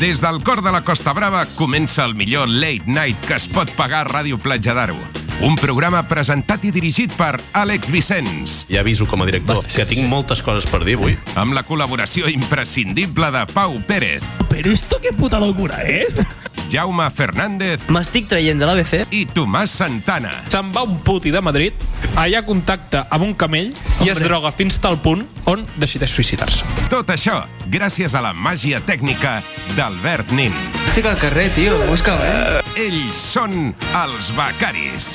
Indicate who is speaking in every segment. Speaker 1: Des del cor de la Costa Brava comença el millor late night que es pot pagar a Ràdio Platja d'Aro. Un programa presentat i dirigit per Àlex Vicenç,
Speaker 2: Ja aviso com a director
Speaker 3: Basta,
Speaker 2: que tinc
Speaker 3: sí.
Speaker 2: moltes coses per dir avui.
Speaker 1: amb la col·laboració imprescindible de Pau Pérez,
Speaker 4: Pero esto qué puta locura eh? es.
Speaker 1: Jaume Fernández
Speaker 3: M'estic traient de l'ABC.
Speaker 1: i Tomàs Santana.
Speaker 5: Se'n va un puti de Madrid, allà contacta amb un camell i es droga fins tal punt on decideix suïcidar-se.
Speaker 1: Tot això gràcies a la màgia tècnica d'Albert Nin.
Speaker 3: Estic al carrer, tio, busca'm, eh?
Speaker 1: Ells són els becaris.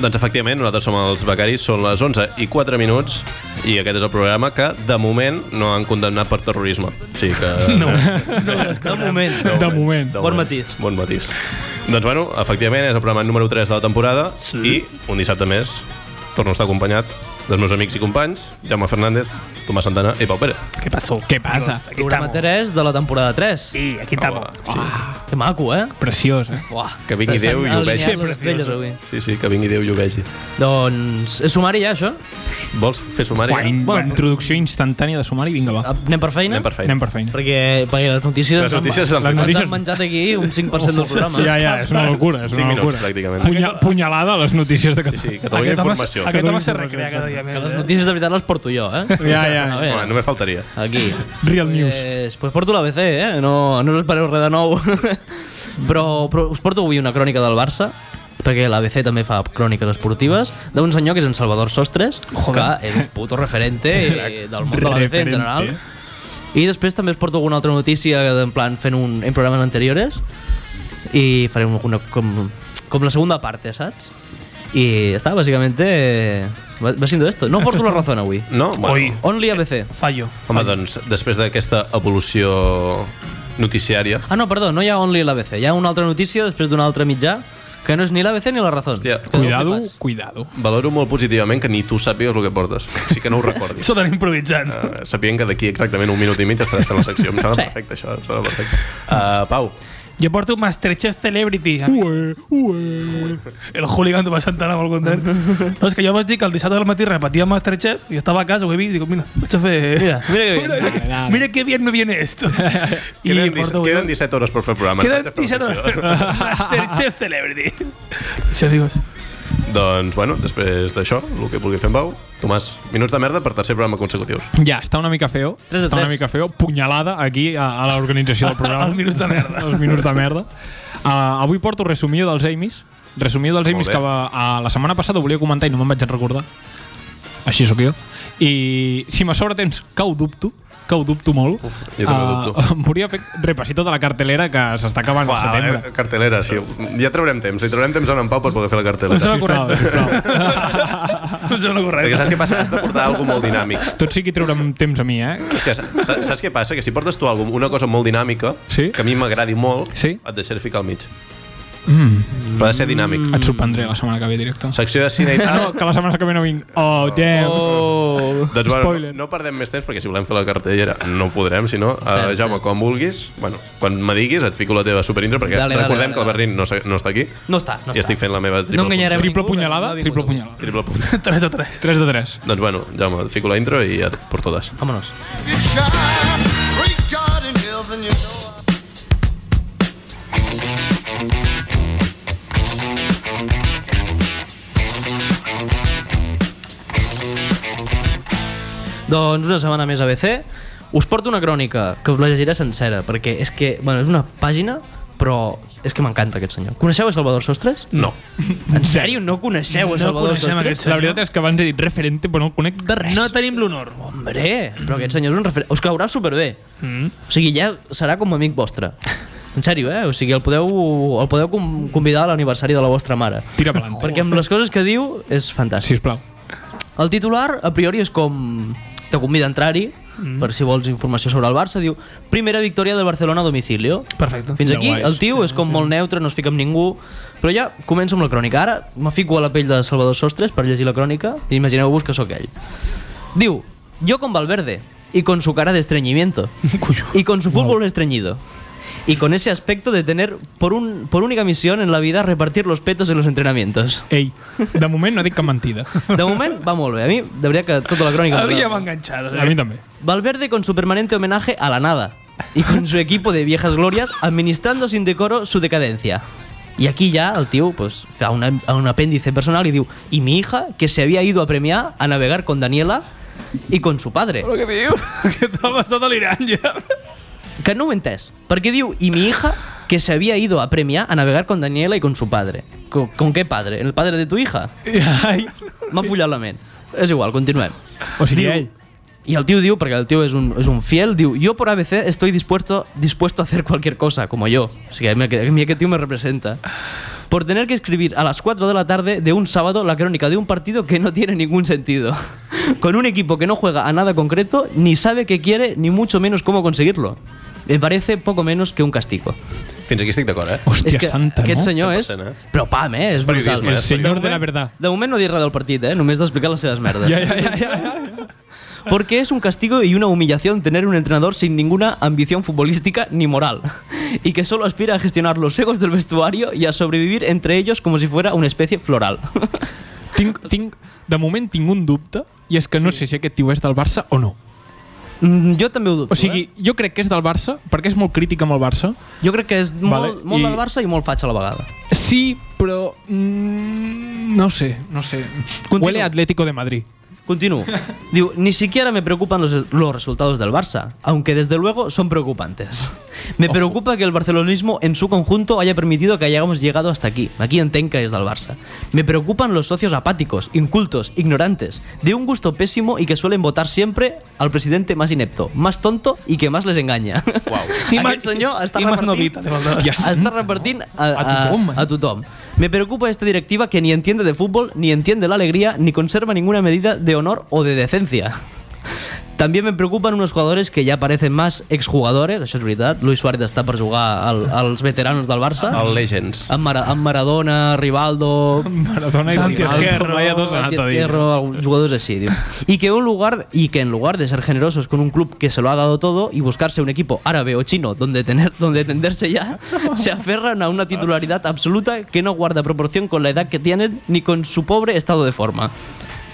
Speaker 2: Doncs efectivament, nosaltres som els becaris, són les 11 i 4 minuts i aquest és el programa que, de moment, no han condemnat per terrorisme. O sigui que... eh, No,
Speaker 3: De moment.
Speaker 4: De moment.
Speaker 3: Bon matís.
Speaker 2: Bon matís. Doncs bueno, efectivament, és el programa número 3 de la temporada sí. i un dissabte més torno a estar acompanyat dels meus amics i companys, Jaume Fernández, Tomàs Santana i Pau Pérez.
Speaker 4: ¿Qué pasó? ¿Qué pasa? Aquí
Speaker 3: Programa
Speaker 4: estamos.
Speaker 3: 3 de la temporada 3.
Speaker 4: Sí, aquí estamos.
Speaker 3: Que maco, eh?
Speaker 4: Preciosa.
Speaker 3: Uah,
Speaker 2: Que vingui
Speaker 3: s'han
Speaker 2: Déu i ho vegi.
Speaker 3: alineat les
Speaker 4: Sí,
Speaker 3: estrelles
Speaker 4: precioso.
Speaker 3: avui.
Speaker 2: Sí, sí, que vingui Déu i ho vegi.
Speaker 3: Doncs, és sumari ja, això?
Speaker 2: Vols fer sumari?
Speaker 3: Bueno,
Speaker 4: introducció instantània de sumari, vinga, va.
Speaker 3: Anem per feina?
Speaker 2: Ah. Anem per feina.
Speaker 4: Anem per feina.
Speaker 3: Perquè, perquè les notícies
Speaker 2: Les notícies
Speaker 3: ens,
Speaker 2: s'han
Speaker 3: han,
Speaker 4: fet.
Speaker 3: ens han menjat aquí un 5% del programa.
Speaker 4: Ja, ja, és una locura, és
Speaker 2: Cinc
Speaker 4: una
Speaker 2: minuts,
Speaker 4: locura.
Speaker 2: pràcticament.
Speaker 4: Punya, punyalada a les notícies de Catalunya.
Speaker 2: Sí, sí, Catalunya
Speaker 4: Aquest home-
Speaker 2: Informació.
Speaker 4: aquest home se
Speaker 5: recrea cada dia
Speaker 3: Que les notícies de veritat les porto jo, eh?
Speaker 4: Ja, ja.
Speaker 3: A
Speaker 2: Home,
Speaker 3: veure,
Speaker 2: només faltaria.
Speaker 3: aquí.
Speaker 4: Real news.
Speaker 3: Pues, pues porto l'ABC, eh? No, no us espereu res de nou. però, però us porto avui una crònica del Barça, perquè l'ABC també fa cròniques esportives, d'un senyor que és en Salvador Sostres,
Speaker 4: Joder.
Speaker 3: que és un puto referente eh, del món de l'ABC en
Speaker 4: Referente.
Speaker 3: general. I després també us porto alguna altra notícia en plan fent un, en programes anteriores i farem alguna com, com la segunda parte, saps? I està, bàsicament eh, va, va siendo esto. No porto la razó avui.
Speaker 2: No? Bueno.
Speaker 5: Oi.
Speaker 3: Only ABC.
Speaker 5: Fallo.
Speaker 2: Home, doncs, després d'aquesta evolució noticiària...
Speaker 3: Ah, no, perdó, no hi ha Only l'ABC. Hi ha una altra notícia després d'un altre mitjà que no és ni l'ABC ni la Razón.
Speaker 2: Hòstia,
Speaker 3: Quedeu
Speaker 4: Cuidado,
Speaker 3: flipats.
Speaker 4: cuidado.
Speaker 2: Valoro molt positivament que ni tu sàpigues el que portes. O sigui que no ho recordis.
Speaker 5: Això tan improvisant.
Speaker 2: Uh, sapient que d'aquí exactament un minut i mig estaràs fent la secció. Em sembla
Speaker 3: Sí.
Speaker 2: perfecte, això. Em sembla perfecte. Uh, Pau,
Speaker 5: Jo porto Masterchef Celebrity. Ué, ué. El hooligan de Santana molt content. No, és que jo vaig dir que el dissabte al matí repetia Masterchef i estava a casa, ho he vist, i dic, mira, vaig a fer... Mira,
Speaker 3: mira que bien.
Speaker 5: Mira, mira, mira que bien me viene esto. I
Speaker 2: queden, dis,
Speaker 5: porto-
Speaker 2: queden 17 hores per fer el programa. Vaig
Speaker 5: Queden
Speaker 2: a fer
Speaker 5: 17
Speaker 2: la
Speaker 5: hores.
Speaker 2: secció.
Speaker 5: Masterchef Celebrity. Sí, amigos.
Speaker 2: Doncs, bueno, després d'això, el que vulgui fer en Pau, Tomàs, minuts de merda per tercer programa consecutius.
Speaker 4: Ja, està una mica feo.
Speaker 3: Tres de
Speaker 4: Està una
Speaker 3: tres.
Speaker 4: mica feo. Punyalada aquí a, a l'organització del programa.
Speaker 5: Els minuts de merda.
Speaker 4: Els minuts de merda. Uh, avui porto resumió dels Amis. Resumió dels Amis
Speaker 2: bé.
Speaker 4: que va, uh, la setmana passada volia comentar i no me'n vaig recordar. Així sóc jo. I si me sobra temps, que ho dubto, que ho dubto molt. Uf,
Speaker 2: jo també ho dubto.
Speaker 4: Em volia fer repassir tota la cartelera que s'està acabant al
Speaker 2: Uah,
Speaker 4: setembre.
Speaker 2: eh, cartelera, sí. Ja traurem temps. Li traurem temps a en Pau per poder fer la cartelera.
Speaker 5: sembla
Speaker 4: Sisplau,
Speaker 5: correcte.
Speaker 4: sisplau.
Speaker 5: Em sembla
Speaker 2: Perquè saps
Speaker 5: correcte.
Speaker 2: què passa? Has de portar alguna molt dinàmic.
Speaker 4: Tot sí que treure'm temps a mi, eh?
Speaker 2: És que sa- sa- saps què passa? Que si portes tu alguna una cosa molt dinàmica,
Speaker 4: Sí.
Speaker 2: que a mi m'agradi molt,
Speaker 4: Sí.
Speaker 2: et deixaré ficar al mig. Mm. Però ha de ser dinàmic.
Speaker 4: Et sorprendré la setmana que ve directe.
Speaker 2: Secció de cine i
Speaker 4: No,
Speaker 2: tal.
Speaker 4: que la setmana que ve no vinc. Oh, damn.
Speaker 3: Oh.
Speaker 2: Doncs, bueno,
Speaker 4: Spoiler.
Speaker 2: no perdem més temps perquè si volem fer la cartellera no podrem, si no, uh,
Speaker 3: Cert,
Speaker 2: Jaume, quan vulguis, bueno, quan me diguis et fico la teva superintro perquè
Speaker 3: Dale, dale,
Speaker 2: recordem
Speaker 3: dale,
Speaker 2: que el
Speaker 3: dale.
Speaker 2: Bernin no, se- no està aquí
Speaker 3: No està, no
Speaker 2: i estic
Speaker 3: està.
Speaker 2: fent la meva triple
Speaker 3: No enganyarem.
Speaker 2: funció.
Speaker 4: Triple
Speaker 3: Ningú,
Speaker 4: punyalada,
Speaker 3: no ha vingut
Speaker 4: triple
Speaker 3: ningú.
Speaker 4: punyalada.
Speaker 2: Triple punt.
Speaker 5: 3 de 3.
Speaker 4: 3 de 3.
Speaker 2: doncs bueno, Jaume, et fico la intro i et per totes.
Speaker 3: Vámonos. Doncs una setmana més a BC. Us porto una crònica, que us la llegiré sencera, perquè és que, bueno, és una pàgina, però és que m'encanta aquest senyor. Coneixeu a Salvador Sostres?
Speaker 2: No.
Speaker 3: En sèrio, no coneixeu a
Speaker 5: No
Speaker 3: Salvador
Speaker 5: coneixem
Speaker 3: Sostres?
Speaker 5: aquest
Speaker 4: La veritat és que abans he dit referente, però no el conec de res.
Speaker 5: No tenim l'honor.
Speaker 3: Hombre, però aquest senyor és un referent. Us caurà superbé. Mm. O sigui, ja serà com amic vostre. En sèrio, eh? O sigui, el podeu, el podeu com- convidar a l'aniversari de la vostra mare.
Speaker 4: Tira pelant.
Speaker 3: Perquè amb les coses que diu és fantàstic.
Speaker 4: Sisplau.
Speaker 3: El titular, a priori, és com... Te convida a entrar-hi, mm. per si vols informació sobre el Barça. Diu, primera victòria del Barcelona a domicilio.
Speaker 5: Perfecte.
Speaker 3: Fins
Speaker 4: De
Speaker 3: aquí,
Speaker 4: guais.
Speaker 3: el tio és com molt neutre, no es fica amb ningú, però ja començo amb la crònica. Ara me fico a la pell de Salvador Sostres per llegir la crònica i imagineu-vos que sóc ell. Diu, yo con Valverde y con su cara de estreñimiento y con su fútbol estreñido. y con ese aspecto de tener por, un, por única misión en la vida repartir los petos en los entrenamientos.
Speaker 4: Ei, de moment no dic cap mentida.
Speaker 3: De moment va molt bé. A mi, de veritat que tota la crònica...
Speaker 5: Habría
Speaker 3: m'agrada.
Speaker 5: enganchado.
Speaker 4: A mi també.
Speaker 3: Valverde con su permanente homenaje a la nada y con su equipo de viejas glorias administrando sin decoro su decadencia. Y aquí ya el tío pues fa una- a un apéndice personal y diu y mi hija que se había ido a premiar a navegar con Daniela y con su padre.
Speaker 5: Lo que digo, que estaba bastant delirant ja.
Speaker 3: Que no ho he entès. Perquè diu y mi hija que se había ido a premiar a navegar con Daniela y con su padre. ¿Con, con qué padre? ¿El padre de tu hija?
Speaker 4: Ai.
Speaker 3: M'ha follat la ment. És igual, continuem.
Speaker 4: O sigui,
Speaker 3: Diu-
Speaker 4: ell.
Speaker 3: Y al tío diu, porque el tío es un, es un fiel, diu, yo por ABC estoy dispuesto, dispuesto a hacer cualquier cosa, como yo. O sea, mira que, mira qué tío me representa. Por tener que escribir a las 4 de la tarde de un sábado la crónica de un partido que no tiene ningún sentido. Con un equipo que no juega a nada concreto, ni sabe qué quiere, ni mucho menos cómo conseguirlo. Me parece poco menos que un castigo.
Speaker 2: Fins aquí estic d'acord, eh?
Speaker 4: Hòstia
Speaker 3: és que
Speaker 4: santa,
Speaker 3: aquest
Speaker 4: no?
Speaker 3: senyor eh? és...
Speaker 2: 100%, eh?
Speaker 3: Però pam, eh? És brutal.
Speaker 2: Periodisme.
Speaker 4: El senyor de la verdad.
Speaker 3: De moment no dir res del partit, eh? Només d'explicar les seves merdes.
Speaker 4: Ja, ja, ja, ja.
Speaker 3: Porque es un castigo y una humillación tener un entrenador sin ninguna ambición futbolística ni moral, y que solo aspira a gestionar los egos del vestuario y a sobrevivir entre ellos como si fuera una especie floral.
Speaker 4: Tinc, tinc, de moment tinc un dubte i és que no sé si aquest tio és del Barça o no.
Speaker 3: Mm, jo també ho dubto,
Speaker 4: O sigui,
Speaker 3: eh?
Speaker 4: jo crec que és del Barça perquè és molt crític amb el Barça.
Speaker 3: Jo crec que és
Speaker 4: Vale,
Speaker 3: molt, molt
Speaker 4: i-
Speaker 3: del Barça i molt faig a la vegada.
Speaker 4: Sí, però... Mm, no sé, no sé.
Speaker 3: Continua.
Speaker 4: Huele a Atlético de Madrid.
Speaker 3: Continúo. Digo, ni siquiera me preocupan los, los resultados del Barça, aunque desde luego son preocupantes. Me preocupa que el barcelonismo en su conjunto haya permitido que hayamos llegado hasta aquí. Aquí en Tenca es del Barça. Me preocupan los socios apáticos, incultos, ignorantes, de un gusto pésimo y que suelen votar siempre al presidente más inepto, más tonto y que más les engaña.
Speaker 5: I
Speaker 3: Wow.
Speaker 5: más-
Speaker 3: Aquest senyor està
Speaker 5: i más
Speaker 3: repartint-
Speaker 5: novita, de verdad.
Speaker 4: Hòstia
Speaker 3: està
Speaker 4: santa,
Speaker 3: repartint
Speaker 4: no?
Speaker 3: a,
Speaker 4: A tothom, eh?
Speaker 3: a tothom. Me preocupa esta directiva que ni entiende de fútbol, ni entiende la alegría, ni conserva ninguna medida de honor o de decencia. También me preocupan unos jugadores que ya parecen más exjugadores, això és veritat. Luis Suárez està per jugar al, als veteranos del Barça.
Speaker 2: El Legends.
Speaker 3: Amb, Mara, amb Maradona, Rivaldo,
Speaker 4: Maradona i
Speaker 5: Santi
Speaker 4: Ronaldo.
Speaker 5: Esquerra,
Speaker 4: Vaya dos han anat a dir.
Speaker 3: Tierro, algunos jugadores así, tío. Y que un lugar y que en lugar de ser generosos con un club que se lo ha dado todo y buscarse un equipo árabe o chino donde tener donde tenderse ya, se aferran a una titularidad absoluta que no guarda proporción con la edad que tienen ni con su pobre estado de forma.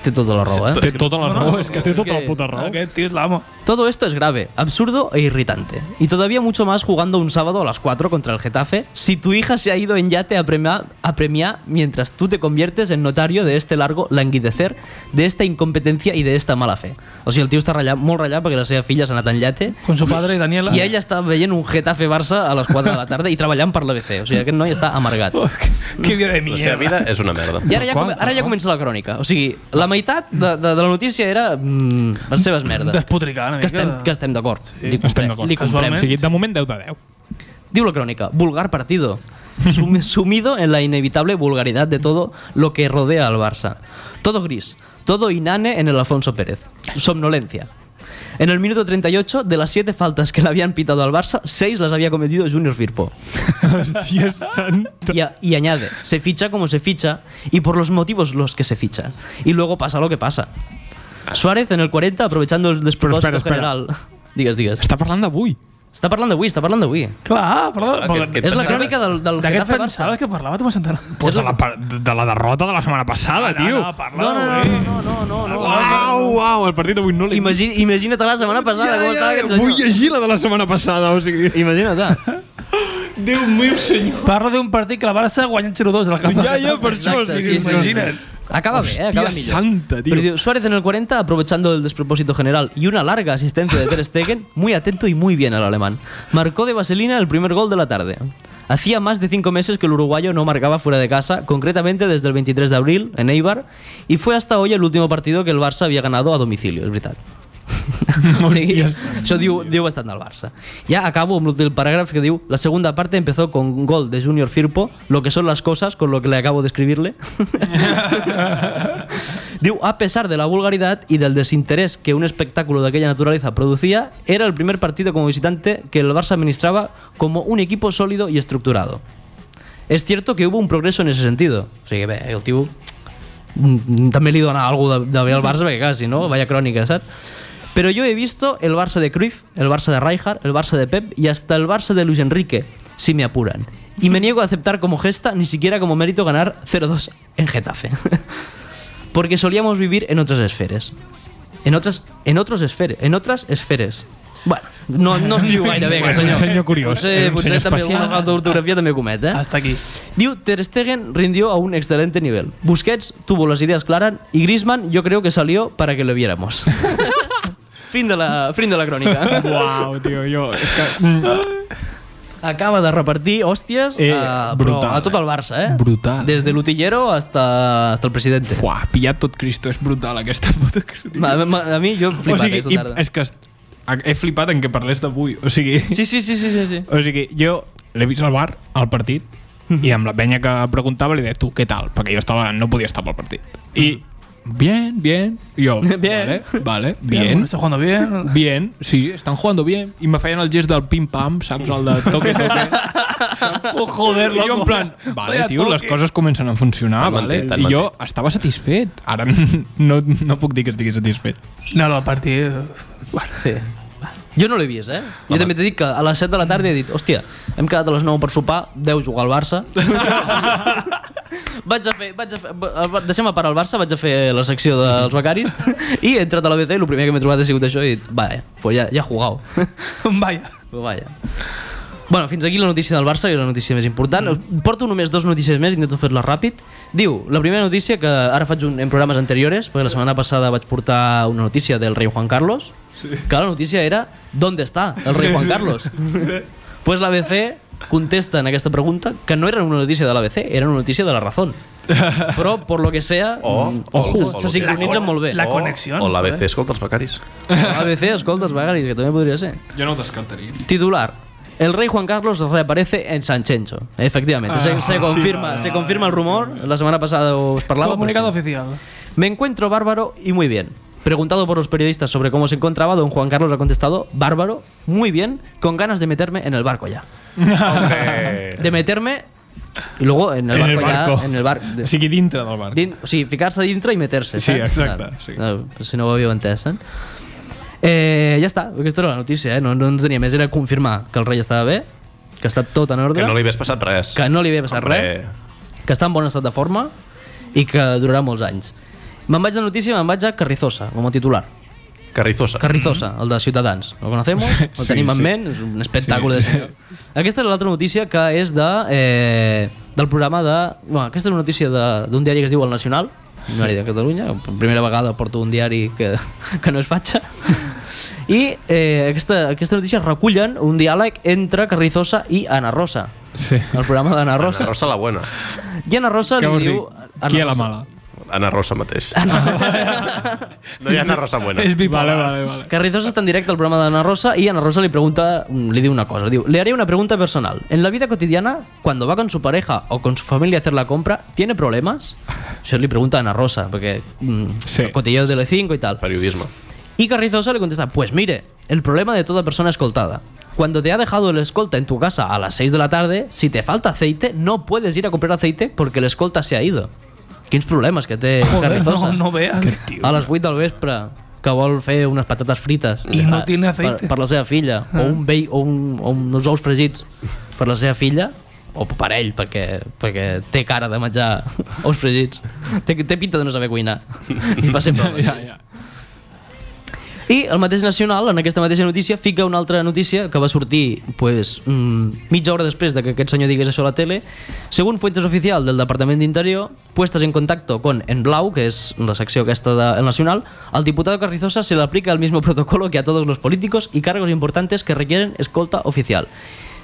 Speaker 3: Té tota la raó, eh?
Speaker 4: Té tota la raó, és que té tota la puta raó.
Speaker 5: Aquest tio és l'amo.
Speaker 3: Todo esto es grave, absurdo e irritante. Y todavía mucho más jugando un sábado a las 4 contra el Getafe, si tu hija se ha ido en yate a premiar, a premiar mientras tú te conviertes en notario de este largo languidecer, de esta incompetencia y de esta mala fe. O sigui, el tio està ratllat, molt ratllat perquè la seva filla s'ha anat en yate
Speaker 5: Con su padre y Daniela.
Speaker 3: i ella està veient un Getafe-Barça a les 4 de la tarda i treballant per l'ABC. O sigui, aquest noi està amargat.
Speaker 5: Qué vida de
Speaker 2: La seva
Speaker 5: mierda.
Speaker 2: vida és una merda.
Speaker 3: I ara ja,
Speaker 4: D'acord,
Speaker 3: com- ara ja
Speaker 4: d'acord.
Speaker 3: comença la crònica. O sigui, la meitat de, de, de la notícia era mm, les seves merdes.
Speaker 5: Despotricar una
Speaker 3: Que
Speaker 5: mica.
Speaker 3: estem, que estem d'acord. Li
Speaker 4: Ah, Estem
Speaker 3: comprem-
Speaker 4: d'acord.
Speaker 3: Li comprem.
Speaker 4: O sigui, de moment 10 de 10.
Speaker 3: Diu la crónica, vulgar partido, sum- sumido en la inevitable vulgaridad de todo lo que rodea al Barça. Todo gris, todo inane en el Alfonso Pérez. Somnolencia. En el minuto 38, de las 7 faltas que le habían pitado al Barça, 6 las había cometido Junior Firpo.
Speaker 4: Hòstia santa.
Speaker 3: Y, a- y añade, se ficha como se ficha y por los motivos los que se ficha. Y luego pasa lo que pasa. Suárez en el 40, aprovechando el despropósito
Speaker 4: espera, espera.
Speaker 3: general. Digas, digas.
Speaker 4: Està parlant d'avui.
Speaker 3: Está hablando Wii, está hablando Wii.
Speaker 5: Clar, perdó.
Speaker 2: Ah,
Speaker 5: perquè-
Speaker 2: que- que-
Speaker 3: Es la
Speaker 2: pensava-
Speaker 3: crónica del, del
Speaker 5: D'aquest
Speaker 3: Getafe-Barça.
Speaker 5: pensava que parlava Tomàs Santana.
Speaker 4: Pues de la, par- de la derrota de la setmana passada,
Speaker 5: Ah, no,
Speaker 4: tio.
Speaker 5: no, parla,
Speaker 3: No, no, no,
Speaker 5: eh?
Speaker 3: no, no, no, no.
Speaker 4: Uau, uau, el partit d'avui no l'he vist.
Speaker 3: Imagina, imagina't la setmana passada com estava aquest
Speaker 4: Vull
Speaker 3: senyor.
Speaker 4: llegir la de la setmana passada, o sigui...
Speaker 3: Imagina't.
Speaker 4: Déu meu senyor.
Speaker 5: Parla d'un partit que la Barça guanya 0-2 a la capa.
Speaker 4: Ja, ja, per això, o
Speaker 3: Exacte,
Speaker 4: sigui,
Speaker 3: sí, sí,
Speaker 4: imagina't.
Speaker 3: sí. Acaba bé, eh? acaba
Speaker 4: Hòstia
Speaker 3: millor.
Speaker 4: santa, tio.
Speaker 3: Pero, digo, Suárez en el 40, aprovechando el despropósito general y una larga asistencia de Ter Stegen, muy atento y muy bien al alemán. Marcó de vaselina el primer gol de la tarde. Hacía más de cinco meses que el uruguayo no marcaba fuera de casa, concretamente desde el 23 de abril en Eibar, y fue hasta hoy el último partido que el Barça había ganado a domicilio, es verdad. o sigui, això diu, diu bastant del Barça. Ja acabo amb el paràgraf que diu la segunda parte empezó con gol de Junior Firpo, lo que son las cosas con lo que le acabo de escribirle. Diu, a pesar de la vulgaridad y del desinterés que un espectáculo de aquella naturaleza producía, era el primer partido como visitante que el Barça administraba como un equipo sólido y estructurado. Es cierto que hubo un progreso en ese sentido. O sigui, bé, el tio mm, també li dona alguna cosa de, de bé al Barça, perquè clar, si no, vaya crònica, saps? Pero yo he visto el Barça de Cruyff, el Barça de Rijkaard, el Barça de Pep y hasta el Barça de Luis Enrique, si me apuran. Y me niego a aceptar como gesta, ni siquiera como mérito, ganar 0-2 en Getafe. Porque solíamos vivir en otras esferas. En otras, en otros esferes, en otras esferes. Bueno, no, no escriu gaire bé, aquest
Speaker 4: Bueno,
Speaker 3: senyor.
Speaker 4: un senyor curiós,
Speaker 3: Potser,
Speaker 4: un
Speaker 3: potser
Speaker 4: senyor
Speaker 3: també
Speaker 4: especial.
Speaker 3: una falta d'ortografia també comet, eh?
Speaker 5: Hasta aquí.
Speaker 3: Diu, Ter Stegen rindió a un excelente nivel. Busquets tuvo las ideas claras y Griezmann yo creo que salió para que lo viéramos. fin, de la, fin de la crónica.
Speaker 4: Uau, tio, jo... És que... Mm,
Speaker 3: Acaba de repartir hòsties
Speaker 4: Eh,
Speaker 3: a, però
Speaker 4: brutal,
Speaker 3: a tot el Barça, eh?
Speaker 4: Brutal.
Speaker 3: Des de l'utillero hasta, hasta el presidente.
Speaker 4: uah, pillat tot Cristo, és brutal aquesta puta crítica.
Speaker 3: A, a, a mi jo he flipat
Speaker 4: o sigui,
Speaker 3: aquesta
Speaker 4: i,
Speaker 3: tarda.
Speaker 4: és que est- he flipat en què parlés d'avui. O sigui,
Speaker 3: Sí, sí, sí, sí, sí. sí.
Speaker 4: o sigui jo l'he vist al bar, al partit, i amb la penya que preguntava li deia, tu, què tal? Perquè jo estava, no podia estar pel partit. I, bien, bien. I jo,
Speaker 3: Bien.
Speaker 4: vale, vale, bien.
Speaker 5: Bueno, está jugando bien.
Speaker 4: Bien, sí, están jugando bien. I me feien el gest del pim-pam, saps? El de toque-toque.
Speaker 5: Oh, joder,
Speaker 4: I jo en
Speaker 5: loco.
Speaker 4: plan, vale,
Speaker 5: Vaya
Speaker 4: tio, les
Speaker 5: toque.
Speaker 4: coses comencen a funcionar,
Speaker 2: Tan
Speaker 4: vale?
Speaker 2: manté, tan
Speaker 4: I jo estava satisfet. Ara no, no puc dir que estigui satisfet.
Speaker 5: No, no, el partido.
Speaker 3: Sí. Jo no l'he vist, eh? Jo també t'he dit que a les 7 de la tarda he dit hòstia, hem quedat a les 9 per sopar, 10 jugar al Barça. vaig a fer... Vaig a fer va- deixem a part el Barça, vaig a fer la secció dels becaris i he entrat a la BC i el primer que m'he trobat ha sigut això i he dit, vale, pues ja, ja jugau.
Speaker 5: Vaya.
Speaker 3: Però vaja. Bueno, fins aquí la notícia del Barça, que és la notícia més important. Mm. Porto només dos notícies més, intento fer-les ràpid. Diu, la primera notícia, que ara faig un, en programes anteriores, perquè la setmana passada vaig portar una notícia del rei Juan Carlos, sí. que la notícia era «On està el rei Juan Carlos?». Sí. Pues l'ABC contesta en aquesta pregunta que no era una notícia de l'ABC, era una notícia de la Razón. Però, por lo que sea,
Speaker 2: O-
Speaker 3: mm,
Speaker 2: ojo.
Speaker 3: se, se sincronitzen molt bé.
Speaker 5: La
Speaker 2: O-
Speaker 5: conexión,
Speaker 2: O l'ABC
Speaker 5: joder.
Speaker 2: escolta els becaris.
Speaker 3: L'ABC, escolta, els vagaris, que també podria ser.
Speaker 4: Jo no ho descartaria.
Speaker 3: Titular. El rey Juan Carlos reaparece en Sanchencho. Efectivamente, se, se confirma, se confirma el rumor. La semana pasada os parlaba. pero
Speaker 5: Comunicado
Speaker 3: sí.
Speaker 5: oficial.
Speaker 3: Me encuentro bárbaro y muy bien. Preguntado por los periodistas sobre cómo se encontraba, don Juan Carlos ha contestado, bárbaro, muy bien, con ganas de meterme en el barco ya. De meterme y luego en el barco, ya, en el barco.
Speaker 4: O sigui, dintre del barco.
Speaker 3: Din, o sigui, ficar-se a dintre i meter-se.
Speaker 4: Sí,
Speaker 3: saps?
Speaker 4: exacte,
Speaker 3: Clar.
Speaker 4: sí.
Speaker 3: No, si no ho havíeu entès, eh? Eh, ja està, aquesta era la notícia, eh? No, no en tenia més, era confirmar que el rei estava bé, que està tot en ordre,
Speaker 2: Que no li hagués passat res.
Speaker 3: que no li havia passat
Speaker 2: Hombre.
Speaker 3: res, que està en bon estat de forma i que durarà molts anys. Me'n vaig de notícia, me'n vaig a Carrizosa, com a titular.
Speaker 2: Carrizosa.
Speaker 3: Mm-hmm. Carrizosa, el de Ciutadans. Lo conocemos, lo
Speaker 4: Sí,
Speaker 3: tenim en
Speaker 4: sí.
Speaker 3: ment, és un espectacle
Speaker 4: Sí.
Speaker 3: de senyor. Aquesta era l'altra notícia que és de, eh, del programa de... Bueno, aquesta és una notícia de- d'un diari que es diu El Nacional, un diari de Catalunya, per primera vegada porto un diari que, que no es fatxa. I eh, aquesta, aquesta notícia recullen un diàleg entre Carrizosa i Ana Rosa.
Speaker 4: Sí.
Speaker 3: El programa d'Ana Rosa.
Speaker 2: Rosa. Ana Rosa la buena.
Speaker 3: I Ana Rosa
Speaker 4: Què
Speaker 3: li
Speaker 4: vols dir?
Speaker 3: diu... Ana
Speaker 4: Qui a la
Speaker 3: Rosa-
Speaker 4: mala?
Speaker 2: Ana Rosa mateix.
Speaker 3: Ah,
Speaker 2: No hi ha Ana Rosa buena.
Speaker 4: És bipolar. Vale, vale, vale.
Speaker 3: Carrizosa está en directo al programa de Ana Rosa y Ana Rosa le pregunta, le dio una cosa. Digo, le haré una pregunta personal. En la vida cotidiana, cuando va con su pareja o con su familia a hacer la compra, ¿tiene problemas? Se le pregunta a Ana Rosa, porque mm,
Speaker 4: Sí.
Speaker 3: cotilleos de L5 y tal.
Speaker 2: Periodisme.
Speaker 3: Y Carrizosa le contesta, pues mire, el problema de toda persona escoltada. Cuando te ha dejado el escolta en tu casa a las 6 de la tarde, si te falta aceite, no puedes ir a comprar aceite porque el escolta se ha ido. ¿Qué problemas que te
Speaker 5: Joder,
Speaker 3: Carrizosa?
Speaker 5: no, no veas.
Speaker 3: a les 8 del vespre que vol fer unes patates frites
Speaker 5: I no
Speaker 3: per-
Speaker 5: tiene aceite. Ah.
Speaker 3: per, per la seva filla o, un vell, o, un, o uns ous fregits per la seva filla o per ell perquè, perquè té cara de menjar ous fregits té, té pinta de no saber cuinar i fa sempre el
Speaker 4: Ja,
Speaker 3: mateix.
Speaker 4: ja.
Speaker 3: I el mateix Nacional, en aquesta mateixa notícia, fica una altra notícia que va sortir pues, mm, mitja hora després de que aquest senyor digués això a la tele. Según fuentes oficial del Departament d'Interior, puestas en contacto con En Blau, que és la secció aquesta del de, Nacional, al diputado Carrizosa se le aplica el mismo protocolo que a todos los políticos y cargos importantes que requieren escolta oficial.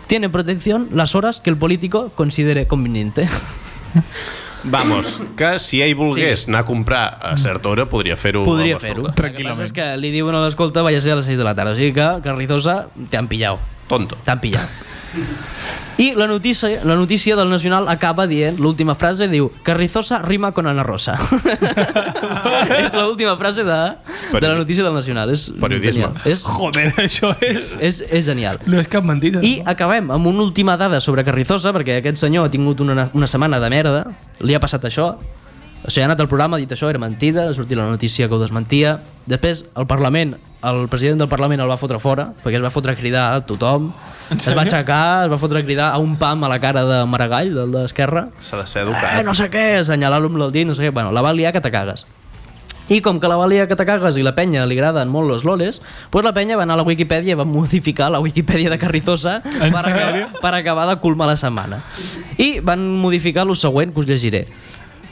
Speaker 3: Tiene protección las horas que el político considere conveniente.
Speaker 2: Vamos, que si ell volgués anar a comprar a certa hora, podria fer-ho.
Speaker 3: Podria
Speaker 2: amb
Speaker 3: fer-ho.
Speaker 2: escolta.
Speaker 3: El que passa és que li diuen a l'escolta vaya a ser a les 6 de la tarda. O sigui que, Carrizosa, te han pillado.
Speaker 2: Tonto.
Speaker 3: T'han pillat. I la notícia, la notícia del Nacional acaba dient, l'última frase diu Carrizosa rima con Ana Rosa. és l'última frase de, de la
Speaker 2: Periodi-
Speaker 3: notícia del Nacional. És
Speaker 2: Periodisme.
Speaker 3: genial. És,
Speaker 5: Joder, eso es.
Speaker 3: és, és genial.
Speaker 5: No es que es mentira.
Speaker 3: I acabem amb una última dada sobre Carrizosa, perquè aquest senyor ha tingut una, una setmana de merda, li ha passat això, o sigui, ha anat al programa, ha dit això, era mentida, ha sortit la notícia que ho desmentia, després el Parlament el president del Parlament el va fotre fora, perquè es va fotre a cridar a tothom, es va aixecar, es va fotre a cridar a un pam a la cara de Maragall, del d'Esquerra,
Speaker 2: S'ha de ser
Speaker 3: eh,
Speaker 2: educat.
Speaker 3: no sé què, assenyalar-lo amb el dit, no sé què, bueno, la va liar que te cagues. I com que la valia que te cagues i la penya li agraden molt los loles, pues la penya va anar a la Wikipedia i va modificar la Wikipedia de Carrizosa per, acabar, per acabar de culmar la setmana. I van modificar lo següent que us llegiré.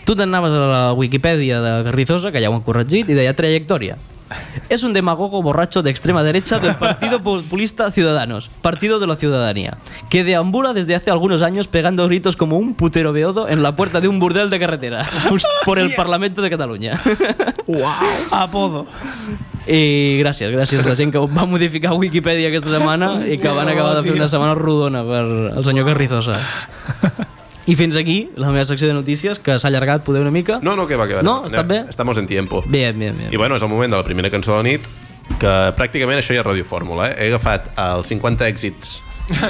Speaker 3: Tu t'anaves a la Wikipedia de Carrizosa, que ja ho han corregit, i deia trayectoria. Es un demagogo borracho de extrema derecha del Partido Populista Ciudadanos, Partido de la Ciudadanía, que deambula desde hace algunos años pegando gritos como un putero beodo en la puerta de un burdel de carretera por el Parlamento de Cataluña.
Speaker 5: Apodo.
Speaker 3: I gràcies, gràcies a la gent que va modificar Wikipedia aquesta setmana i que van acabar de fer una setmana rodona per el senyor Carrizosa. I fins aquí la meva secció de notícies, que s'ha allargat poder una mica.
Speaker 2: No, no, que va, que va.
Speaker 3: No, està bé?
Speaker 2: Estamos en tiempo.
Speaker 3: Bé, bé,
Speaker 2: I
Speaker 3: bé.
Speaker 2: bueno, és el moment de la primera cançó de la nit, que pràcticament això ja és radiofórmula, eh? He agafat els 50 èxits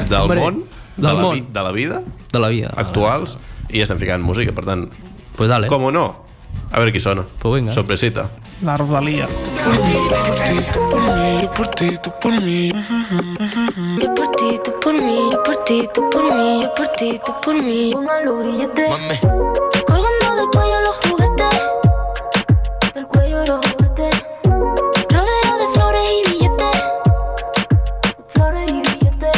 Speaker 2: del
Speaker 3: Hombre,
Speaker 2: món, de,
Speaker 3: del
Speaker 2: la,
Speaker 3: món. Ah,
Speaker 2: vi- de la vida,
Speaker 3: De la vida.
Speaker 2: actuals, i estem ficant música, per tant,
Speaker 3: Pues dale.
Speaker 2: com o no, a veure qui sona.
Speaker 3: Eh? Pues venga.
Speaker 2: Sorpresita.
Speaker 5: La Rosalía.
Speaker 6: Yo por ti, tú por mí.
Speaker 7: Yo por ti, tú por mí, yo por ti, tú por mí, yo por ti, tú por mí. Una lurillete. Colgando del cuello los juguetes. Del cuello los juguetes. Rodeado de flores y billetes. Flores y billetes.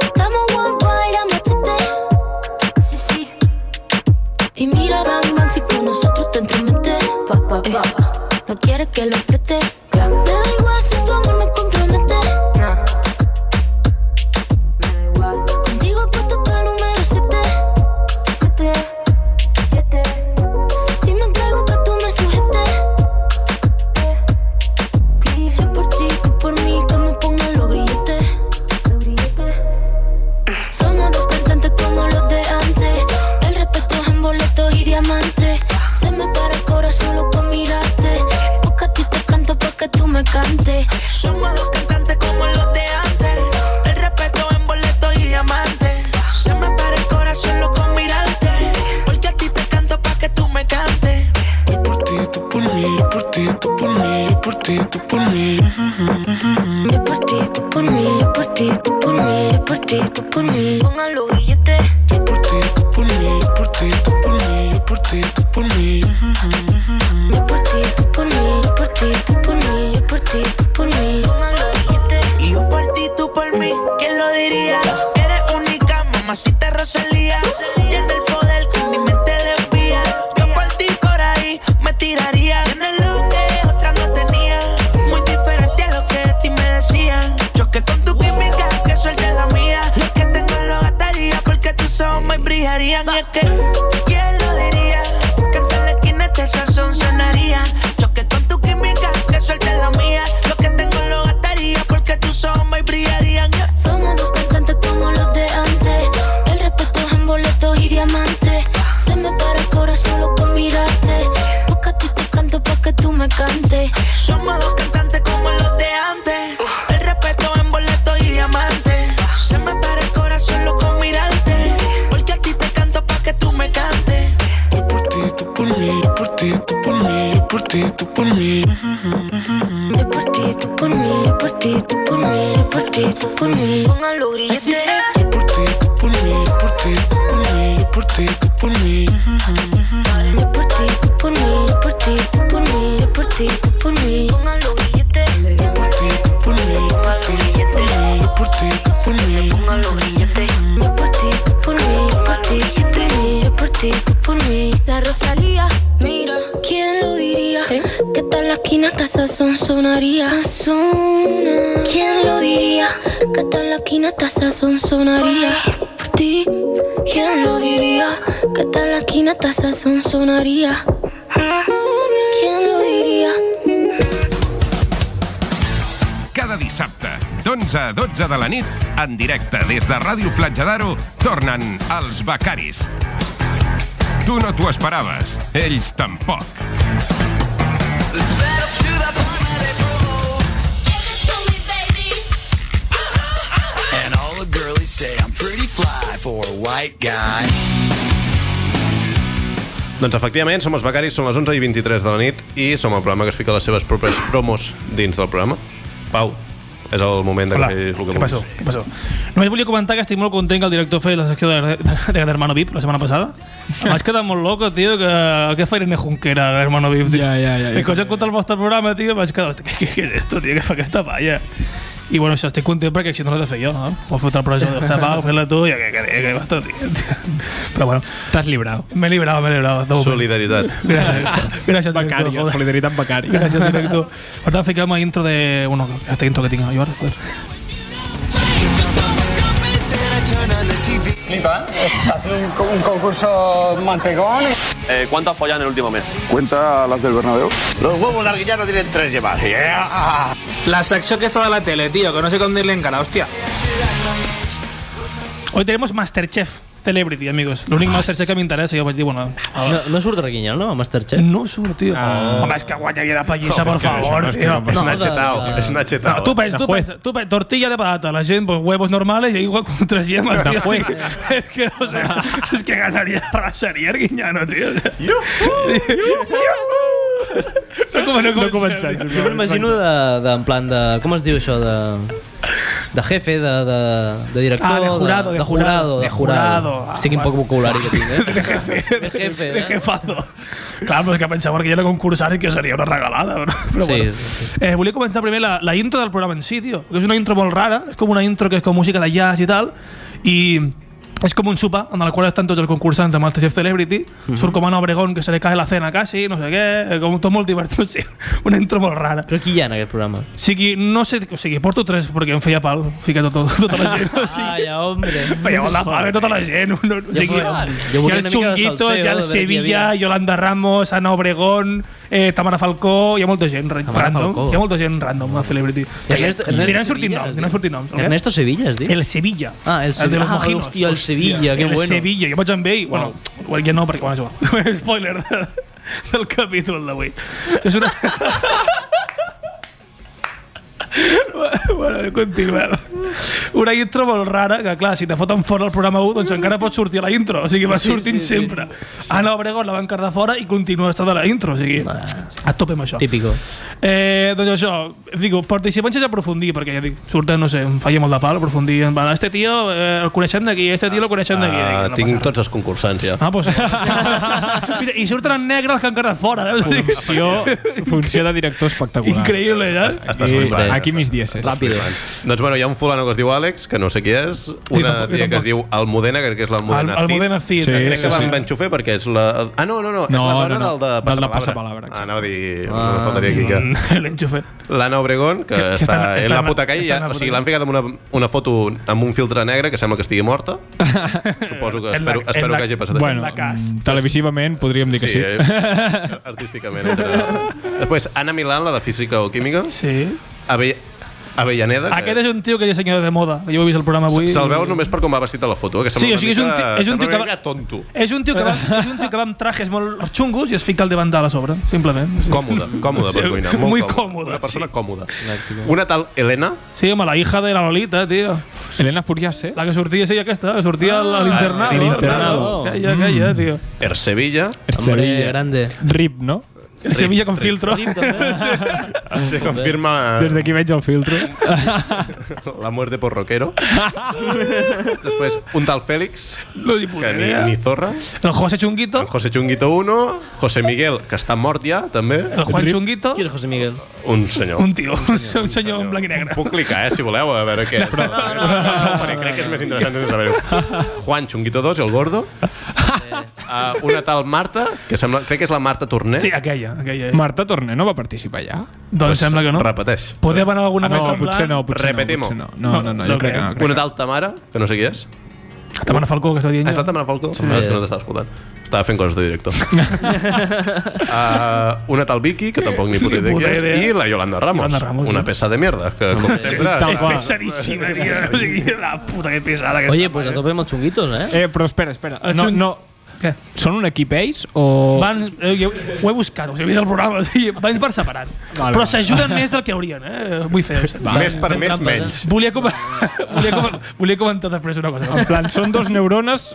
Speaker 7: Estamos worldwide a machete. Sí, sí. Y mira, Batman, si con nosotros te entromete. Eh, no quiere que lo apriete. Me da igual si tu amor me compromete. Contigo he puesto todo el número 7. 7, 7. Si me entrego que tú me sujetes. Yo por ti, tú por mí, que me pongan los grilletes. Somos dos cantantes como los de antes. El respeto es en boletos y diamantes. Se me para el corazón solo con mirarte. Busca a ti te canto pa' que tú me cantes.
Speaker 8: Somos dos cantantes como los de antes. El respeto en boleto y diamante. Se me para el corazón loco con mirarte. Porque a ti te canto pa' que tú me cantes.
Speaker 6: Yo por ti, tú por mí. Yo por ti, tú por mí. Yo por ti, tú por mí.
Speaker 7: Yo por ti, tú por mí, yo por ti, tú por mí, yo por ti, tú por mí. Póngalo billete.
Speaker 6: Yo por ti, tú por mí. Yo por ti, tú por mí. Yo por ti, tú por mí.
Speaker 7: Yo por ti, tú por mí, yo por ti, tú por mí, yo por ti, tú por mí. Póngalo billete.
Speaker 8: Y yo por ti, tú por mí, ¿quién lo diría? Eres única, mamacita Rosalía. Tiene el poder que mi mente desvía. Yo por ti por ahí me tiraría. Tienes lo que otra no tenía. Muy diferente a lo que de ti me decían. Choque con tu química, que suelte la mía. Lo que tengo lo gastaría porque tus ojos me brillarían. Y es que, ¿quién lo diría? Que en la esquina este sazón sonaría. Choque con tu química, que suelte la mía. Lo que tengo lo gastaría porque tus ojos me brillarían. Yeah.
Speaker 7: Somos dos cantantes como los de antes. El respeto es en boletos y diamantes. Se me para el corazón solo con mirarte. Busca a ti te canto pa' que tú me cantes.
Speaker 8: Somos dos cantantes como los de antes. El respeto en boletos y diamantes. Se me para el corazón loco mirarte. Porque a ti te canto pa' que tú me cantes.
Speaker 6: Yo por ti, tú por mí. Yo por ti, tú por mí. Yo por ti, tú por mí.
Speaker 7: Yo por ti, tú por mí, yo por ti, tú por mí, yo por ti, tú por mí. Póngalo billete. Así se
Speaker 6: Yo por ti, tú por mí. Yo por ti, tú por mí. Yo por ti, tú por mí.
Speaker 7: Yo por ti, tú por mí, yo por ti, tú por mí, yo por ti, tú por mí. Póngalo billete.
Speaker 6: Yo por ti, tú por mí. Yo por ti, tú por mí. Yo por ti, tú por mí.
Speaker 7: Yo por ti, tú por mí, yo por ti, tú por mí, yo por ti, tú por mí. La Rosalía, mira, ¿quién lo diría? Que tal la esquina hasta sazón sonaría. ¿Quién lo diría? Que tal la esquina hasta sazón sonaría. Por ti, ¿quién lo diría? Que tal la esquina hasta sazón sonaría. ¿Quién lo diría?
Speaker 1: Cada dissabte, d'11 a 12 de la nit, en directe des de Ràdio Platja d'Aro, tornen els becaris. Tu no t'ho esperaves, ells tampoc.
Speaker 9: And all the girlies say I'm pretty fly for a white guy.
Speaker 2: Doncs efectivament, som els becaris, són les 11 i 23 de la nit i som el programa que es fica les seves pròpies promos dins del programa. Pau, és el moment de
Speaker 5: Hola,
Speaker 2: que facis el que
Speaker 5: què
Speaker 2: vulguis.
Speaker 5: passó? Què passó? Només volia comentar que estic molt content que el director fes la secció de, de, de Hermano VIP la setmana passada. Em vaig quedar molt loco, tio, que què fa Irene Junquera, Hermano VIP. Tio.
Speaker 4: Ja, ja, ja,
Speaker 5: I
Speaker 4: ja,
Speaker 5: quan
Speaker 4: ja,
Speaker 5: ja, el vostre programa, tio, em vaig quedar, "Hosti, què, què és esto, tio, què fa aquesta palla? I bueno, això, estic content perquè això no l'he de fer jo, no? Pues M'ho ha fotut el professor, està va, fes-la tu, i que, que, que, que, basta, tio. Però bueno,
Speaker 4: T'has librat.
Speaker 5: me he librado, me he librado. de moment.
Speaker 2: Solidaritat.
Speaker 5: Gràcies, gràcies,
Speaker 4: Becari,
Speaker 5: director, joder.
Speaker 4: solidaritat becari.
Speaker 5: Gràcies, director. Per tant, fiquem a intro de... Bueno, aquesta intro que tinc jo ara, joder.
Speaker 9: ¿Cuánto has follado Eh, en el último mes?
Speaker 10: Cuenta las del Bernabéu.
Speaker 11: La sección que está de la tele, tío, que no sé con irle en cara, hostia.
Speaker 5: Hoy tenemos Masterchef Celebrity, amigos. Lo único Masterchef que me interesa, yo pues digo, bueno,
Speaker 3: No, no surt Raquinyol, no, a Masterchef?
Speaker 5: no sur, tío. Hombre, es que guayaría la paliza, por favor, tío.
Speaker 2: És una
Speaker 3: de-
Speaker 2: xetao,
Speaker 5: Ah.
Speaker 3: de-
Speaker 2: és una xetao.
Speaker 5: Tú pens, tú pens, tú pens, tortilla de patata, la gente, pues huevos normales y igual con tres yemas, tío. Así que- Es que, o sea, es que ganaría, arrasaría el guiñano, tío. No como no comencem.
Speaker 3: Jo m'imagino de, de, en plan de... Com es diu això? De, de jefe, de, de, de director...
Speaker 5: Ah, de jurado, de
Speaker 3: de jurado.
Speaker 5: jurado, de
Speaker 3: De jurado.
Speaker 5: jurado. Ah,
Speaker 3: Sí, quin poc vocabulari que tinc, eh? De jefe. De jefe,
Speaker 5: De jefazo. Claro, pues que pensaba que yo era concursar y que sería una regalada, bro. Pero
Speaker 3: Sí,
Speaker 5: bueno.
Speaker 3: sí,
Speaker 5: Eh, volia començar primer la, la intro del programa en si, tio, que és una intro molt rara, és com una intro que és com música de jazz i tal, i és com un sopar en el qual estan tots els concursants de Masterchef Celebrity,
Speaker 3: Mhm.
Speaker 5: mm -hmm. surt com a Obregón que se li cae la cena quasi, no sé què, eh, com tot molt divertit, sí, una intro molt rara.
Speaker 3: Però qui hi ha en aquest programa?
Speaker 5: O sigui, no sé, o sigui, porto tres perquè em feia pal, fica tot, tot, tota la gent, o sigui,
Speaker 3: Vaya, hombre.
Speaker 5: feia la pal de tota la gent, no, o sigui,
Speaker 3: volia-
Speaker 5: hi
Speaker 3: jo
Speaker 5: ha
Speaker 3: volia una mica
Speaker 5: el
Speaker 3: de
Speaker 5: Chunguitos, hi ha
Speaker 3: salseo, de ver qui
Speaker 5: el
Speaker 3: hi
Speaker 5: Sevilla,
Speaker 3: havia.
Speaker 5: Yolanda Ramos, Ana Obregón, eh, Tamara Falcó, hi ha molta gent random,
Speaker 3: Falcó.
Speaker 5: hi ha molta gent random a Celebrity.
Speaker 3: Ernest- Ernest
Speaker 5: Aniran sortint
Speaker 3: Sevilla,
Speaker 5: Pues
Speaker 3: es
Speaker 5: noms, aniran
Speaker 3: diu.
Speaker 5: sortint noms. ok?
Speaker 3: Ernesto Sevilla, es diu?
Speaker 5: El Sevilla.
Speaker 3: Ah, el
Speaker 5: El de
Speaker 3: Sevilla.
Speaker 5: los
Speaker 3: Ah,
Speaker 5: mojinos.
Speaker 3: hòstia, el Sevilla, que
Speaker 5: el
Speaker 3: bueno.
Speaker 5: Sevilla, jo vaig amb ell. Bueno, well, ja no, perquè bueno, és igual. Spoiler de, del capítol d'avui. Això És una... bueno, continuem. Una intro molt rara, que clar, si te foten fora el programa 1, doncs encara pot sortir a la intro, o sigui, va sortint sí, sí, sempre. Ana Obregón la van quedar fora i continua estant a la intro, o sigui, a tope amb això.
Speaker 3: Típico.
Speaker 5: Eh, doncs això, digo, participants és aprofundir, perquè ja dic, surten, no sé, em falla molt de pal, aprofundir, en plan, este tio eh, el coneixem d'aquí, este tio el coneixem d'aquí.
Speaker 2: Ah,
Speaker 5: d'aquí, no
Speaker 2: tinc
Speaker 5: passa res.
Speaker 2: tots els concursants, ja.
Speaker 5: Ah, doncs... Mira, I surten en negre els que han quedat fora. Eh?
Speaker 4: Funció, funció de director espectacular.
Speaker 5: Increïble, ja.
Speaker 2: Estàs flipat.
Speaker 4: I aquí mis dieces.
Speaker 3: Ràpido.
Speaker 2: Doncs bueno, hi ha un fulano que es diu Àlex, que no sé qui és, una
Speaker 5: tampoc-
Speaker 2: tia
Speaker 5: jo
Speaker 2: que
Speaker 5: tampoc.
Speaker 2: es diu Almudena, crec que és
Speaker 5: El,
Speaker 2: l'Almudena
Speaker 5: el
Speaker 2: Cid.
Speaker 5: Modena Cid.
Speaker 4: Sí,
Speaker 2: Crec
Speaker 4: sí,
Speaker 2: que
Speaker 4: sí.
Speaker 2: vam enxufar perquè és la... Ah, no, no, no, és
Speaker 4: No,
Speaker 2: la dona
Speaker 4: no, no.
Speaker 2: del de
Speaker 4: Del de
Speaker 2: Passapalabra.
Speaker 4: Passapalabra, exacte.
Speaker 2: Ah, anava a dir... Ah, no faltaria aquí, que...
Speaker 5: L'enxufe.
Speaker 2: L'Anna Obregón, que,
Speaker 5: Mm. Que- que
Speaker 2: que està,
Speaker 5: estan-
Speaker 2: en
Speaker 5: estan-
Speaker 2: la puta calle,
Speaker 5: estan
Speaker 2: ja,
Speaker 5: a
Speaker 2: o
Speaker 5: puta
Speaker 2: sigui, l'han ficat amb una, una foto amb un filtre negre que sembla que estigui morta. Suposo que
Speaker 5: En la-
Speaker 2: espero,
Speaker 5: en
Speaker 2: espero
Speaker 5: la-
Speaker 2: que hagi passat
Speaker 4: Bueno, mm,
Speaker 5: La cas.
Speaker 4: televisivament podríem dir
Speaker 2: això.
Speaker 4: que sí.
Speaker 2: eh, artísticament. Entre... Després, Anna Milán, la de Física o Química.
Speaker 5: Sí.
Speaker 2: Ave... Avellaneda.
Speaker 5: Aquest és un tio que és senyor de moda. Jo he vist el programa avui.
Speaker 2: Eh. Se'l veu només per com va vestit a la foto, eh, que sembla
Speaker 5: Sí, o sigui, és
Speaker 2: una
Speaker 5: un
Speaker 2: mica,
Speaker 5: ti- és un
Speaker 2: sembla
Speaker 5: tio que
Speaker 2: una
Speaker 5: va-
Speaker 2: mica tonto.
Speaker 5: És un tio que va, és un tio que va amb trajes molt xungos i es fica al davant de la sobre, simplement.
Speaker 2: Còmode, còmode per
Speaker 5: Sí,
Speaker 2: cuinar. Molt
Speaker 5: muy
Speaker 2: còmode.
Speaker 5: còmode,
Speaker 2: Una persona
Speaker 5: sí.
Speaker 2: còmoda. Una tal Helena,
Speaker 5: Sí, home, la hija de la Lolita, tio.
Speaker 4: Helena Furiase.
Speaker 5: La que sortia, sí, aquesta, que sortia al- al internado.
Speaker 2: al
Speaker 4: internado.
Speaker 5: Calla, calla, tio.
Speaker 2: er Ercevilla,
Speaker 3: Hombre, grande.
Speaker 4: Rip, no?
Speaker 5: El Sevilla con filtro.
Speaker 2: se confirma
Speaker 4: Des d'aquí veig el filtro.
Speaker 2: la muerte por rockero. Després, un tal Fèlix,
Speaker 5: No hi puc
Speaker 2: que ni, ni zorra.
Speaker 5: El José Chunguito,
Speaker 2: José Chunguito 1, José Miguel, que està mort ja, també.
Speaker 5: el Juan Chunguito,
Speaker 3: Qui és José Miguel?
Speaker 2: Un senyor.
Speaker 5: un tio, un senyor, un senyor en blanc i negre.
Speaker 2: Puc clicar, eh, si voleu, a veure què és. Però, no, no, no, no, no, crec que és més interessant de saber-ho. Juan Chunguito 2, el gordo. Uh, una tal Marta, que sembla, crec que és la Marta Torné.
Speaker 5: Sí, aquella, aquella. eh.
Speaker 4: Marta Torné no va participar ja?
Speaker 2: em
Speaker 4: Ah,
Speaker 5: Doncs
Speaker 2: pues
Speaker 5: sembla que no.
Speaker 2: Repeteix.
Speaker 5: Podeu anar alguna
Speaker 4: no, pues
Speaker 5: cosa en
Speaker 4: potser
Speaker 5: blanc?
Speaker 4: no, potser
Speaker 2: Repetimo.
Speaker 4: no, potser no. No, no, no, jo
Speaker 5: No,
Speaker 4: crec que no.
Speaker 5: crec.
Speaker 2: Una
Speaker 4: Crec.
Speaker 2: tal Tamara, que no sé qui és.
Speaker 5: Tamara Falcó, que estava dient
Speaker 2: Ah, és la
Speaker 5: jo.
Speaker 2: Tamara Falcó? Sí. És que no t'estava escoltant. Estava fent coses de director. uh, una tal Vicky, que tampoc ni puta idea qui és,
Speaker 5: idea.
Speaker 2: i la Yolanda Ramos.
Speaker 5: Yolanda Ramos,
Speaker 2: una
Speaker 5: no?
Speaker 2: peça de mierda, que com sempre...
Speaker 4: tal
Speaker 5: És
Speaker 4: qual.
Speaker 5: pesadíssima, tio. O sigui, La puta que pesada que
Speaker 3: Oye,
Speaker 5: està,
Speaker 3: pues a
Speaker 5: eh.
Speaker 3: tope amb els xunguitos, eh?
Speaker 4: Eh, però espera, espera.
Speaker 5: Ets
Speaker 4: No,
Speaker 5: un-
Speaker 4: no.
Speaker 5: Què?
Speaker 4: Són un equip ells o...
Speaker 5: Van, eh, jo, ho he buscat, us he vist el programa, o sigui, van per separat.
Speaker 4: Vale,
Speaker 5: Però
Speaker 4: vale.
Speaker 5: s'ajuden més del que haurien, eh? Vull fer.
Speaker 4: Va. Més per més, menys.
Speaker 5: Volia, com... volia, com... volia comentar després una cosa.
Speaker 4: En plan, són dos neurones,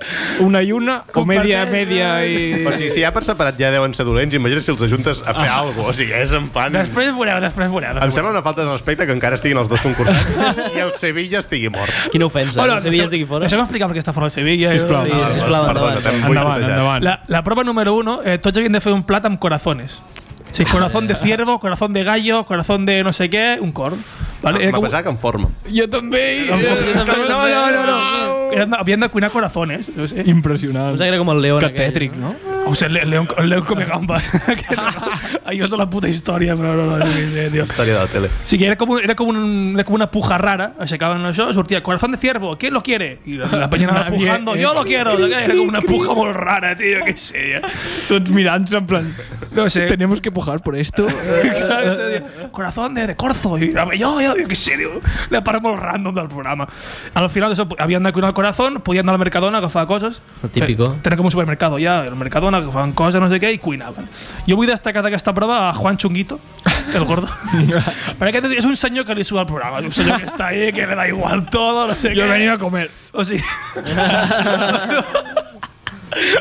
Speaker 4: una i una, o media, media i...
Speaker 2: Però si, si ja per separat ja deuen ser dolents, imagina't si els ajuntes a fer ah. alguna cosa. O sigui, és en plan...
Speaker 5: Després veureu, després veureu.
Speaker 2: Em sembla una falta de respecte que encara estiguin els dos concursants i el Sevilla estigui mort.
Speaker 3: Quina ofensa. eh?
Speaker 5: Bueno, deixeu- Deixa'm explicar per què està fora el Sevilla.
Speaker 2: Sisplau.
Speaker 5: i-
Speaker 2: Ah,
Speaker 3: sisplau,
Speaker 2: perdona,
Speaker 3: endavant.
Speaker 2: t'hem
Speaker 5: Endavant,
Speaker 2: boicotejat.
Speaker 5: endavant. La, la prova número uno, eh, tots havien de fer un plat amb corazones. Sí, corazón de ciervo, corazón de gallo, corazón de no sé què, un cor.
Speaker 4: Ah,
Speaker 5: Vale? Era
Speaker 2: Em va
Speaker 5: com-
Speaker 2: pensar que en forma.
Speaker 4: Jo també!
Speaker 5: No, no, no, no. Eren- Havien de cuinar corazones, no sé.
Speaker 4: Impressionant.
Speaker 3: Pensava que era com el León
Speaker 4: Que
Speaker 3: aquell,
Speaker 4: tètric, no?
Speaker 5: O sigui, el León, el León come gambas. Ahí és de la puta història, però no, no, no, no, no,
Speaker 2: Història de la tele.
Speaker 5: Sí, que era com, era com, un, era com una puja rara, aixecaven això, sortia corazón de ciervo, ¿quién lo quiere? I la, la penya anava
Speaker 4: Nadie,
Speaker 5: pujando,
Speaker 4: eh.
Speaker 5: yo lo quiero. Era com una puja molt rara, tio, què sé. jo.
Speaker 4: Tots mirant-se en plan...
Speaker 5: No sé.
Speaker 4: Tenemos que pujar por esto.
Speaker 5: Exacte, tio. corazón de, de corzo. I mirava, jo, jo, jo, què sé, tio. La part molt random del programa. Al final, això, havien de pues, cuinar el corazón, podien anar al Mercadona a agafar coses.
Speaker 3: Lo típico.
Speaker 5: Tenen com un supermercado ja, el Mercadona, agafaven coses, no sé què, i cuinaven. Jo vull destacar d'aquesta prova a Juan Chunguito, el gordo. Perquè aquest és un senyor que li surt al programa, és un senyor que està ahí, que le da igual todo, no sé Oh, què.
Speaker 4: Yo he venido a comer.
Speaker 5: O sigui...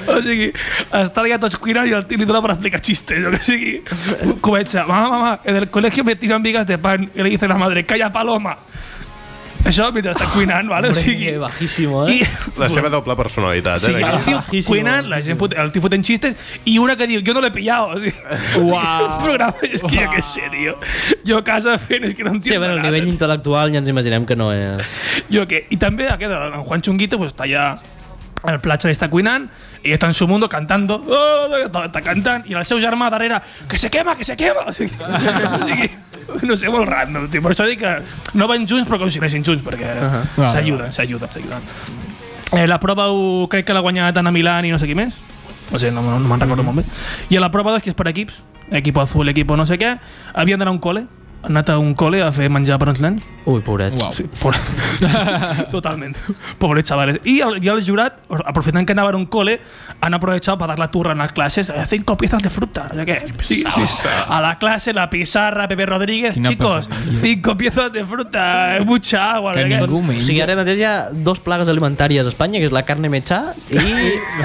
Speaker 5: o sigui, estan allà tots cuinant i el tio li dona per explicar xistes, jo que sigui. Comença, mamá, mamá, en el colegio me tiran vigas em de pan. I li dice la madre, calla paloma. Això mentre està cuinant, vale? o
Speaker 3: Hombre,
Speaker 5: sigui...
Speaker 3: que bajísimo, eh?
Speaker 5: I,
Speaker 2: La seva doble personalitat, eh?
Speaker 5: sí,
Speaker 2: d'aquí.
Speaker 5: el tio
Speaker 3: Bajísimo.
Speaker 5: cuinant, la gent fot, el tio fotent xistes i una que diu, jo no l'he pillado. O sigui,
Speaker 4: Uau.
Speaker 5: un programa, és que jo què sé, tio. Jo a casa fent, és que no entenc
Speaker 3: Sí, a veure, el nivell intel·lectual ja ens imaginem que no és...
Speaker 5: Yo que, y también aquest, en Juan Chunguito, pues está ya el platja está cuinant y está en su mundo cantando oh, está, está cantant i el seu germà darrere que se quema, que se quema o sigui, o sigui, no sé, molt random tio. per això dic que no van junts però com si anessin junts perquè uh -huh. s'ajuden, s'ajuden s'ajuden eh, la prova u, crec que l'ha guanyat Anna Milán i no sé qui més no sé, no, no, no me'n recordo molt bé i a la prova 2 que és per equips equipo azul, equipo no sé què havien d'anar a un col·le han anat a un col·le a fer menjar per uns nens
Speaker 3: Ui, pobrets.
Speaker 4: Uau.
Speaker 5: Sí, por... Totalment. Pobres chavales. I el, i el jurat, aprofitant que anaven a un cole, han aprovechat per dar la turra en les classes. Eh, Cinco piezas de fruta. O sea que, sí, sí. A la clase, la pizarra, Pepe Rodríguez.
Speaker 4: Quina
Speaker 5: Chicos,
Speaker 4: pesadilla.
Speaker 5: cinco piezas de fruta. eh, Mucha agua.
Speaker 4: Que
Speaker 5: no sé què.
Speaker 4: ningú
Speaker 3: O sigui, ara mateix hi ha dos plagues alimentàries a Espanya, que és la carne metxà i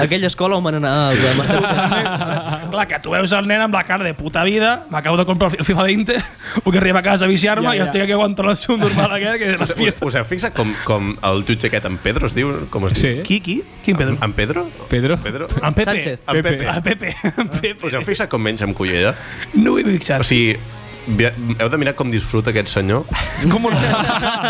Speaker 3: aquella escola on van anar els de Masterchef.
Speaker 5: Clar, que tu veus el nen amb la cara de puta vida, m'acabo de comprar el FIFA 20, perquè arriba a casa a viciar-me
Speaker 4: Ja,
Speaker 5: ja, ja. i
Speaker 4: ja.
Speaker 5: estic aquí aguantant el seu normal aquest, que les
Speaker 2: Us, us,
Speaker 5: piezas.
Speaker 2: us heu fixat com, com el jutge aquest en Pedro es diu? Com es diu?
Speaker 4: Sí.
Speaker 5: Qui, qui? Quin Pedro?
Speaker 2: En Pedro?
Speaker 4: Pedro.
Speaker 2: Pedro?
Speaker 5: En Pepe.
Speaker 3: Sánchez.
Speaker 2: En Pepe.
Speaker 4: Pepe.
Speaker 5: En Pepe. En Pepe.
Speaker 2: Us heu fixat com menja amb cullera?
Speaker 5: No ho he fixat.
Speaker 2: O sigui, vi- heu de mirar com disfruta aquest senyor
Speaker 5: ¿Cómo lo,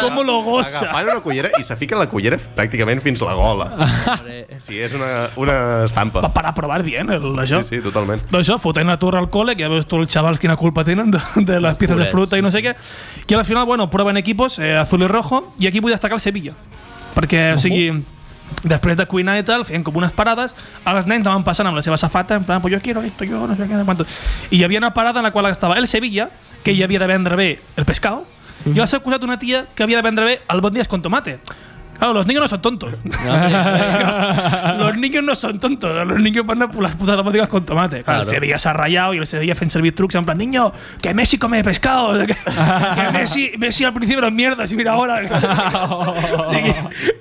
Speaker 5: cómo lo goza?
Speaker 2: agafant una cullera i se fica la cullera pràcticament fins la gola. O sigui, és una, una estampa.
Speaker 5: Pa- Para probar bien el, això.
Speaker 2: Sí, sí, totalment.
Speaker 5: Doncs això, fotent la torre al col·le, que ja veus tu els xavals quina culpa tenen de, de les piezas de
Speaker 3: Pobrets.
Speaker 5: fruta i no sé què. I al final, bueno, proven equipos, eh, azul i rojo, i aquí vull destacar el Sevilla. Perquè, o sigui, després de cuinar i tal, feien com unes parades, els nens anaven passant amb la seva safata, en plan, pues yo quiero esto, yo no sé qué, no sé cuánto. I hi havia una parada en la qual estava el Sevilla, que hi havia de vendre bé el pescado, i al seu costat una tia que havia de vendre bé el bon dies con tomate. Claro, los niños no son tontos. los niños no son tontos. Los niños van a por las putas domóticas con tomate. Claro,
Speaker 3: Claro.
Speaker 5: El Sevilla se ha rayado y el Sevilla en servir trucs en plan, niño, que Messi come pescado. Que, que Messi, Messi al principio era mierda, si mira ahora. O sigui,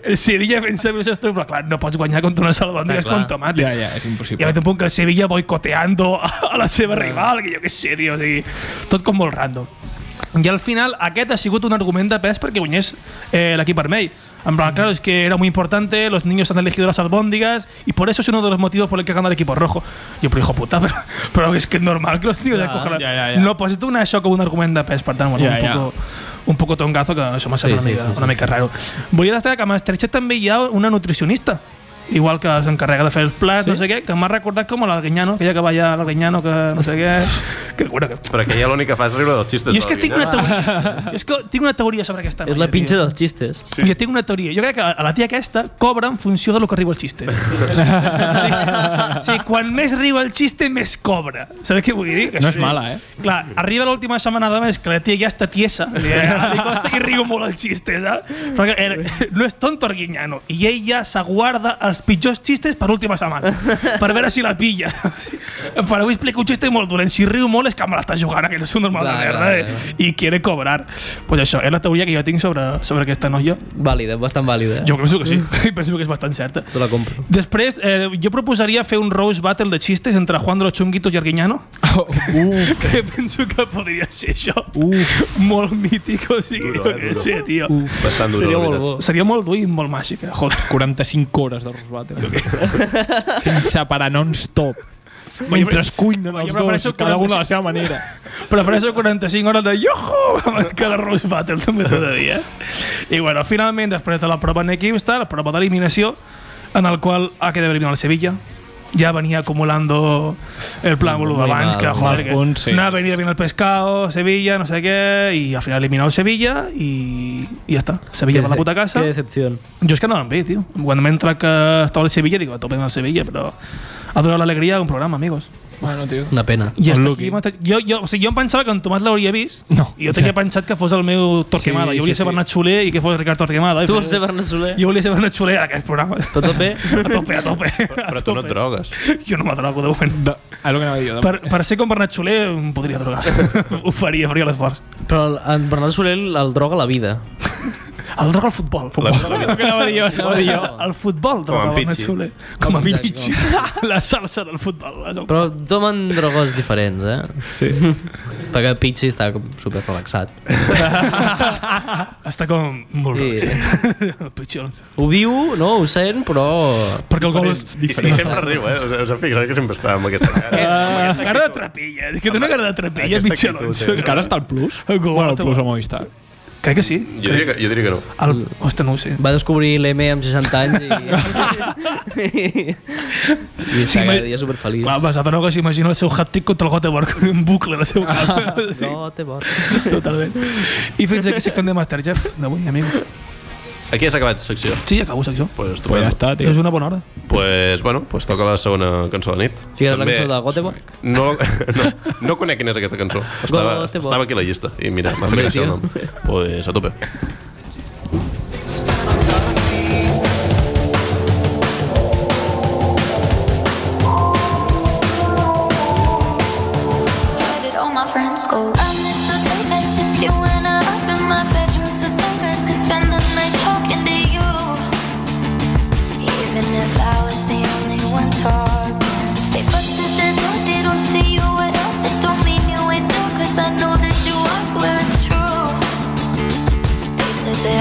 Speaker 5: el Sevilla fent servir els seus trucs, però clar, no pots guanyar contra unes albòndigues
Speaker 3: clar.
Speaker 5: con tomate.
Speaker 4: Ja, ja, és
Speaker 5: I
Speaker 4: impossible.
Speaker 5: haver un punt que el Sevilla boicoteando a la seva rival, que jo què sé, tio, o sigui, tot com molt random. I al final aquest ha sigut un argument de pes perquè guanyés eh, l'equip vermell. En
Speaker 3: Mm.
Speaker 5: plan, claro, es que era muy importante, los niños han elegido las albóndigas y por eso es uno de los motivos por el que gana el equipo rojo. Yo, pero hijo puta, pero, pero es que es normal que los niños
Speaker 3: Ja,
Speaker 5: acojan la-
Speaker 4: ja, ja, ja.
Speaker 5: No, pues esto es una això com un argument de pes, per tant, bueno,
Speaker 4: Ja,
Speaker 5: un,
Speaker 4: ja.
Speaker 5: poco, un poco tongazo, que això m'ha
Speaker 3: Sí,
Speaker 5: semblat
Speaker 3: sí,
Speaker 5: una, mica,
Speaker 3: sí, sí,
Speaker 5: una mica raro. Volia destacar que a Masterchef també hi ha una nutricionista, igual que s'encarrega de fer els plats, no sé què, que m'ha recordat com a l'Alguinyano, aquella que va allà a l'Alguinyano, que no sé què, Que cura, que...
Speaker 2: Però que ja l'únic que fa és riure dels xistes.
Speaker 5: Jo és que
Speaker 2: de la
Speaker 5: tinc
Speaker 2: Guineu.
Speaker 5: una teoria. Jo és que tinc una teoria sobre aquesta
Speaker 3: És la
Speaker 5: noia,
Speaker 3: pinxa
Speaker 5: tio.
Speaker 3: dels xistes.
Speaker 5: Sí. Jo tinc una teoria. Jo crec que a la tia aquesta cobra en funció de lo que riu el xiste. o sigui, quan més riu el xiste, més cobra. Saps què vull dir? Que
Speaker 4: No és mala, eh?
Speaker 5: Clar, arriba l'última setmana de més que la tia ja està tiesa. Li, li costa que riu molt el xiste, saps? Però que, eh, no és tonto Arguiñano. I ella s'aguarda els pitjors xistes per l'última setmana. Per veure si la pilla. per avui explico un xiste molt dolent. Si riu molt és que me l'està jugant, aquest és un normal
Speaker 3: Clar,
Speaker 5: de merda.
Speaker 3: clar,
Speaker 5: eh? I quiere cobrar. Pues això, és la teoria que jo tinc sobre, sobre aquesta noia.
Speaker 3: Vàlida, bastant vàlida.
Speaker 5: Jo penso que sí, penso que és bastant certa.
Speaker 3: Te la compro.
Speaker 5: Després, eh, jo proposaria fer un Rose Battle de xistes entre Juan de los Chunguitos i Arguiñano.
Speaker 4: Uf,
Speaker 5: Que penso que podria ser això. Uf. Molt mític, o sigui,
Speaker 2: Duro,
Speaker 5: jo
Speaker 2: eh,
Speaker 5: què
Speaker 2: duro.
Speaker 5: sé, tio.
Speaker 4: uf.
Speaker 2: Bastant dura,
Speaker 3: Seria
Speaker 2: la
Speaker 3: molt
Speaker 2: veritat.
Speaker 3: bo.
Speaker 5: Seria molt dur i molt màgica, joder.
Speaker 4: 45 hores de Rosbate. Sense parar non-stop. Mentre es cuinen
Speaker 5: Jo
Speaker 4: els dos,
Speaker 5: prefereixo
Speaker 4: cada un a la
Speaker 5: 45.
Speaker 4: seva manera.
Speaker 5: Prefereixo 45 hores de yoho abans que de Rose Battle també tot el dia. I bueno, finalment, després de la prova en equips, tal, la prova d'eliminació, en el qual ha quedat eliminado el Sevilla. Ja venia acumulando el plan boludo
Speaker 3: Muy
Speaker 5: abans,
Speaker 3: mal,
Speaker 5: que
Speaker 4: mals
Speaker 5: joder, que
Speaker 4: punts, sí.
Speaker 5: anava venir bien el pescado, Sevilla, no sé què, i al final eliminado el Sevilla i, i ja està. Sevilla per la puta casa.
Speaker 3: Qué decepción.
Speaker 5: Jo és que anava amb ell, tio. Quan m'he entrat que estava el Sevilla, dic, a tope amb el Sevilla, però ha durat l'alegria d'un programa, amigos.
Speaker 4: Bueno, tio.
Speaker 3: Una pena.
Speaker 5: I hasta
Speaker 4: Lucky.
Speaker 5: aquí, m'ha tret- jo, jo, o sigui, jo em pensava que en Tomàs l'hauria vist
Speaker 4: No,
Speaker 5: i jo tenia
Speaker 4: exacte.
Speaker 5: pensat que fos el meu Torquemada.
Speaker 4: Sí,
Speaker 5: jo volia
Speaker 4: sí,
Speaker 5: ser
Speaker 4: sí.
Speaker 5: Bernat Soler i que fos Ricard Torquemada.
Speaker 3: Tu vols ser Bernat Soler?
Speaker 5: Jo volia ser Bernat Soler en aquest programa.
Speaker 3: Però tot bé?
Speaker 5: A tope, a tope.
Speaker 2: Però tu no et drogues.
Speaker 5: Jo no m'adrogo, de moment.
Speaker 4: De, a lo que anava jo. De,
Speaker 5: Per, per ser com Bernat Soler em podria drogar. Ho faria, faria l'esforç.
Speaker 3: Però el- en Bernat Soler el droga la vida.
Speaker 5: El droga al futbol.
Speaker 2: La vida, la vida.
Speaker 5: No, no. El futbol
Speaker 2: Com
Speaker 5: droga
Speaker 2: en
Speaker 5: Bernat
Speaker 2: Pichi.
Speaker 5: Soler. Com a
Speaker 3: Exacte,
Speaker 5: Pichi. La salsa del futbol. la salsa.
Speaker 3: Però tomen drogues diferents, eh? Sí. Perquè Pichi està com super relaxat.
Speaker 5: Està com molt
Speaker 3: Sí.
Speaker 5: relaxat. Pitxons.
Speaker 3: Ho viu, no? Ho sent, però...
Speaker 5: Perquè el gol és
Speaker 2: I, I sempre riu, eh? Us- Us heu fixat que sempre està amb aquesta cara.
Speaker 5: Ah, cara de trapella. Que té una cara de trapella,
Speaker 2: Aquesta
Speaker 5: Michel
Speaker 2: actitud,
Speaker 5: Alonso.
Speaker 2: eh?
Speaker 4: encara està el plus?
Speaker 5: Go,
Speaker 4: Bueno, el
Speaker 5: te
Speaker 4: plus
Speaker 5: va.
Speaker 4: a Movistar.
Speaker 5: Crec que sí.
Speaker 2: Jo diria, que, jo diria que no.
Speaker 5: El... Ostres, no ho sé.
Speaker 3: Va descobrir l'EME amb 60 anys i... I està cada
Speaker 5: ma-
Speaker 3: dia superfeliç.
Speaker 5: Clar, vas a droga s'imagina el seu hat-trick contra el Göteborg en bucle de seu cap.
Speaker 3: No, té bord.
Speaker 5: Totalment. I fins aquí secció de Masterchef d'avui, amics.
Speaker 2: Aquí has acabat secció.
Speaker 5: Sí, ja acabo secció.
Speaker 2: Pues,
Speaker 4: Pues ja
Speaker 2: estupendo.
Speaker 4: està, tio.
Speaker 5: És una bona hora.
Speaker 2: pues bueno, pues toca la segona cançó de la nit.
Speaker 3: Fica't la
Speaker 2: També-
Speaker 3: cançó de Göteborg.
Speaker 2: No, no, no conec quina és aquesta cançó. Estava,
Speaker 3: Gote, bo.
Speaker 2: estava aquí a la llista i mira, m'ha fet
Speaker 3: Hombre,
Speaker 2: gràcia
Speaker 3: tio.
Speaker 2: el nom. Pues a tope.
Speaker 7: Where did all my friends go? I miss those late nights just you and I up in my bedroom till sunrise. Could spend the night talking to you, even if I was the only one talking. They busted the door, they don't see you at all. They don't mean you at all, 'cause I know that you are. Swear it's true. They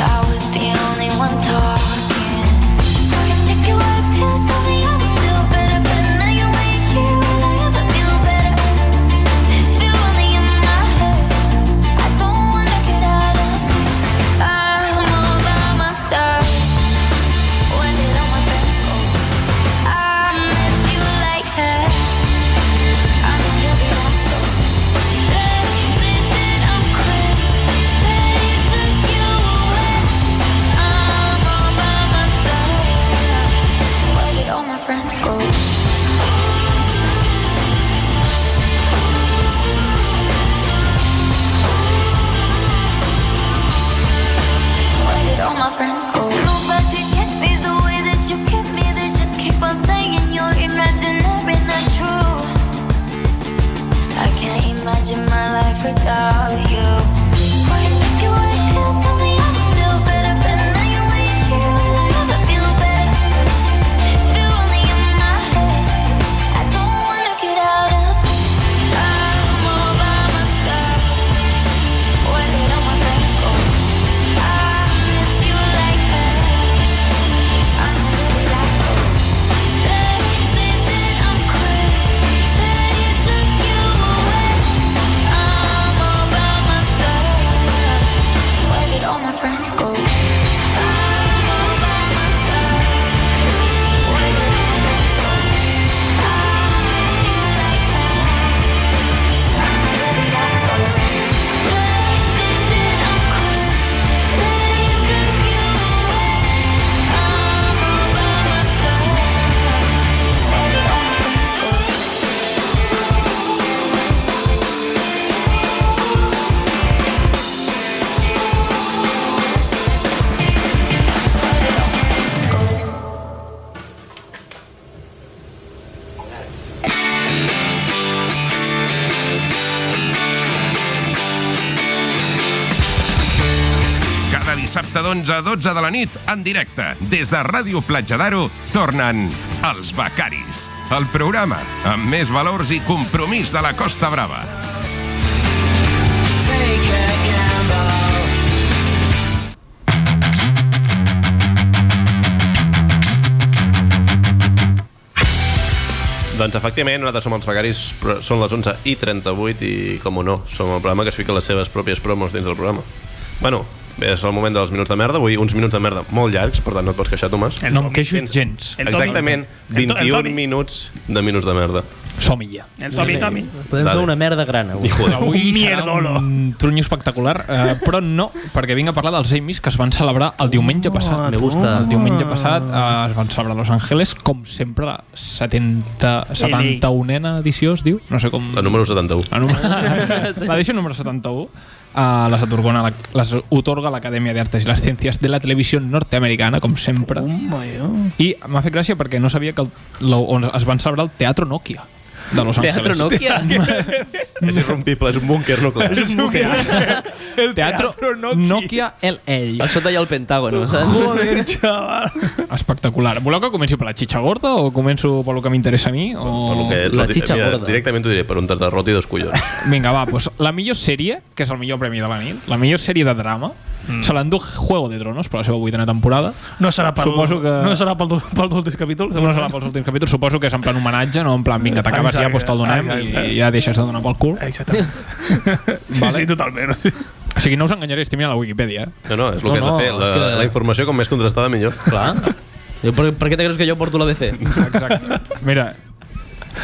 Speaker 1: Dissabte d'11 a 12 de la nit, en directe, des de Ràdio Platja d'Aro, tornen Els Becaris, el programa amb més valors i compromís de la Costa Brava.
Speaker 2: Doncs efectivament, nosaltres som els becaris, però són les 11 i 38 i, com o no, som el programa que es fica les seves pròpies promos dins del programa. Bueno, és el moment dels minuts de merda, avui uns minuts de merda molt llargs, per tant no et pots queixar, Tomàs.
Speaker 4: No em queixo gens.
Speaker 2: Exactament, 21 minuts de minuts de merda.
Speaker 4: Som-hi ja.
Speaker 5: El Tommy, Tommy.
Speaker 3: Podem
Speaker 2: Dale.
Speaker 3: fer una merda gran avui.
Speaker 2: Hijo de-
Speaker 4: Avui
Speaker 5: Un
Speaker 4: serà
Speaker 5: mierdolo.
Speaker 4: un trunyo espectacular, eh, però no, perquè vinc a parlar dels Emmys que es van celebrar el diumenge passat.
Speaker 3: me gusta.
Speaker 4: El diumenge passat eh, es van celebrar a Los Angeles, com sempre, la 70, 71a edició, es diu? No sé com...
Speaker 2: La número 71.
Speaker 4: La número... L'edició número 71 uh, les, atorgona, la- les otorga l'Acadèmia d'Artes i les Ciències de la Televisió Norteamericana, com sempre. I m'ha fet gràcia perquè no sabia que el, la, on es van celebrar el Teatro Nokia de Los Angeles.
Speaker 3: Teatro Nokia.
Speaker 2: És irrompible, és un búnquer nuclear.
Speaker 4: El Teatro, Nokia LA.
Speaker 3: A sota hi ha el Pentàgono, saps?
Speaker 5: Joder, Eh, xaval.
Speaker 4: Espectacular. Voleu que comenci per la xitxa gorda o començo pel que m'interessa a mi? O...
Speaker 2: Per lo que,
Speaker 3: Mm, La
Speaker 2: lo-
Speaker 3: xitxa
Speaker 2: mira,
Speaker 3: gorda.
Speaker 2: Directament t'ho diré, per un tas de roti i dos collons.
Speaker 4: Vinga, va, pues la millor sèrie, que és el millor premi de la nit, la millor sèrie de drama, mm. se l'endú Juego de Tronos per la seva vuitena temporada.
Speaker 5: No serà pel...
Speaker 4: Suposo que-
Speaker 5: No serà pel, pel últim capítol.
Speaker 4: No serà pels últims capítols, suposo que és en plan homenatge, no en plan vinga, t'acabes ja,
Speaker 5: Exacte.
Speaker 4: doncs te'l donem
Speaker 5: Ai, ai, ai.
Speaker 4: i ja deixes de donar pel cul.
Speaker 5: Eh, Exactament. sí,
Speaker 4: Vale.
Speaker 5: sí, totalment.
Speaker 4: O sigui, no us enganyaré, estic mirant la Wikipedia. eh.
Speaker 2: No, no, és el
Speaker 3: No,
Speaker 2: que has
Speaker 3: no,
Speaker 2: de fer. La,
Speaker 3: és que-
Speaker 2: la informació com més contrastada millor.
Speaker 3: Clar. Jo, per, per què te creus que jo porto l'ABC?
Speaker 4: Exacte. Mira,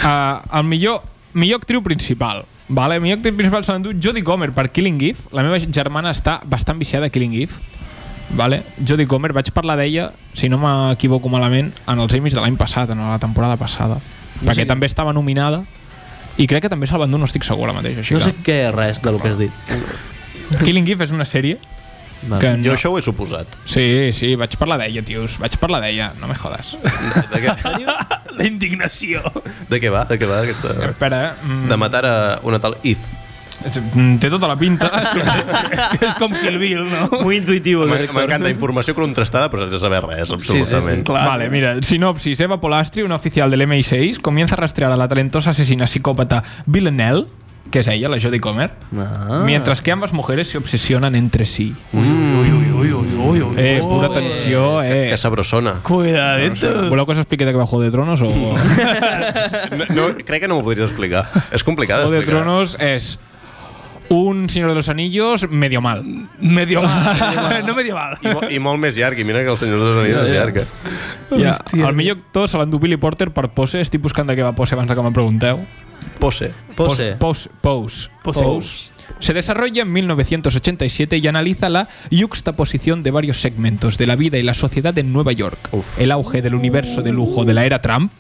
Speaker 4: uh, el millor, millor actriu principal. Vale, millor actriu principal se l'endú Jodie Comer per Killing Eve. La meva germana està bastant viciada a Killing Eve. Vale, Jodie Comer, vaig parlar d'ella, si no m'equivoco malament, en els Emmys de l'any passat, en la temporada passada. perquè també estava nominada i crec que també se'l van dur, no estic segur ara mateix. Així
Speaker 3: No sé
Speaker 4: que...
Speaker 3: què res del que has dit.
Speaker 4: Killing Eve és una sèrie
Speaker 3: Vale.
Speaker 4: que
Speaker 2: Jo
Speaker 4: no...
Speaker 2: això ho he suposat.
Speaker 4: Sí, sí, vaig parlar d'ella, tios. Vaig parlar d'ella, no me jodas.
Speaker 2: De què,
Speaker 5: La indignació.
Speaker 2: de què va? De què va aquesta...
Speaker 4: Espera, eh? Mm,
Speaker 2: De matar a una tal Eve.
Speaker 4: Mm, Té tota la pinta.
Speaker 5: és com Kill Bill, no?
Speaker 3: Muy intuitivo.
Speaker 2: M'en- M'encanta informació contrastada, però sense saber res, absolutament.
Speaker 5: Clar.
Speaker 4: Vale, mira, sinopsis. Eva Polastri, una oficial del MI6, comienza a rastrear a la talentosa asesina psicópata Villanelle, que es ella, la Jodie Comer, mientras que ambas mujeres se obsesionan entre sí.
Speaker 5: Ui, ui, ui, ui, ui, ui.
Speaker 4: Eh,
Speaker 5: ui.
Speaker 4: pura tensió, eh.
Speaker 2: Que sabrosona.
Speaker 5: Cuidadito.
Speaker 4: Voleu que us expliqui de què va Juego de Tronos? O...
Speaker 2: No, no, crec que no m'ho podries explicar. És complicat
Speaker 4: Juego de
Speaker 2: d'explicar.
Speaker 4: Tronos és un Señor de los Anillos medio mal. Ah,
Speaker 5: Medieval. no medieval.
Speaker 2: I, mo- I molt més llarg, i mira que el senyor dels Anillos és llarg. eh?
Speaker 4: Ja,
Speaker 5: Hòstia.
Speaker 4: el millor actor se l'endú Billy Porter per Pose. Estic buscant de què va Pose abans de que me'n pregunteu.
Speaker 2: Pose.
Speaker 3: Pose.
Speaker 4: Pose. Pose.
Speaker 5: Pose.
Speaker 4: Se desarrolla en 1987 y analiza la yuxtaposición de varios segmentos de la vida y la sociedad en Nueva York, el auge del universo de lujo de la era Trump,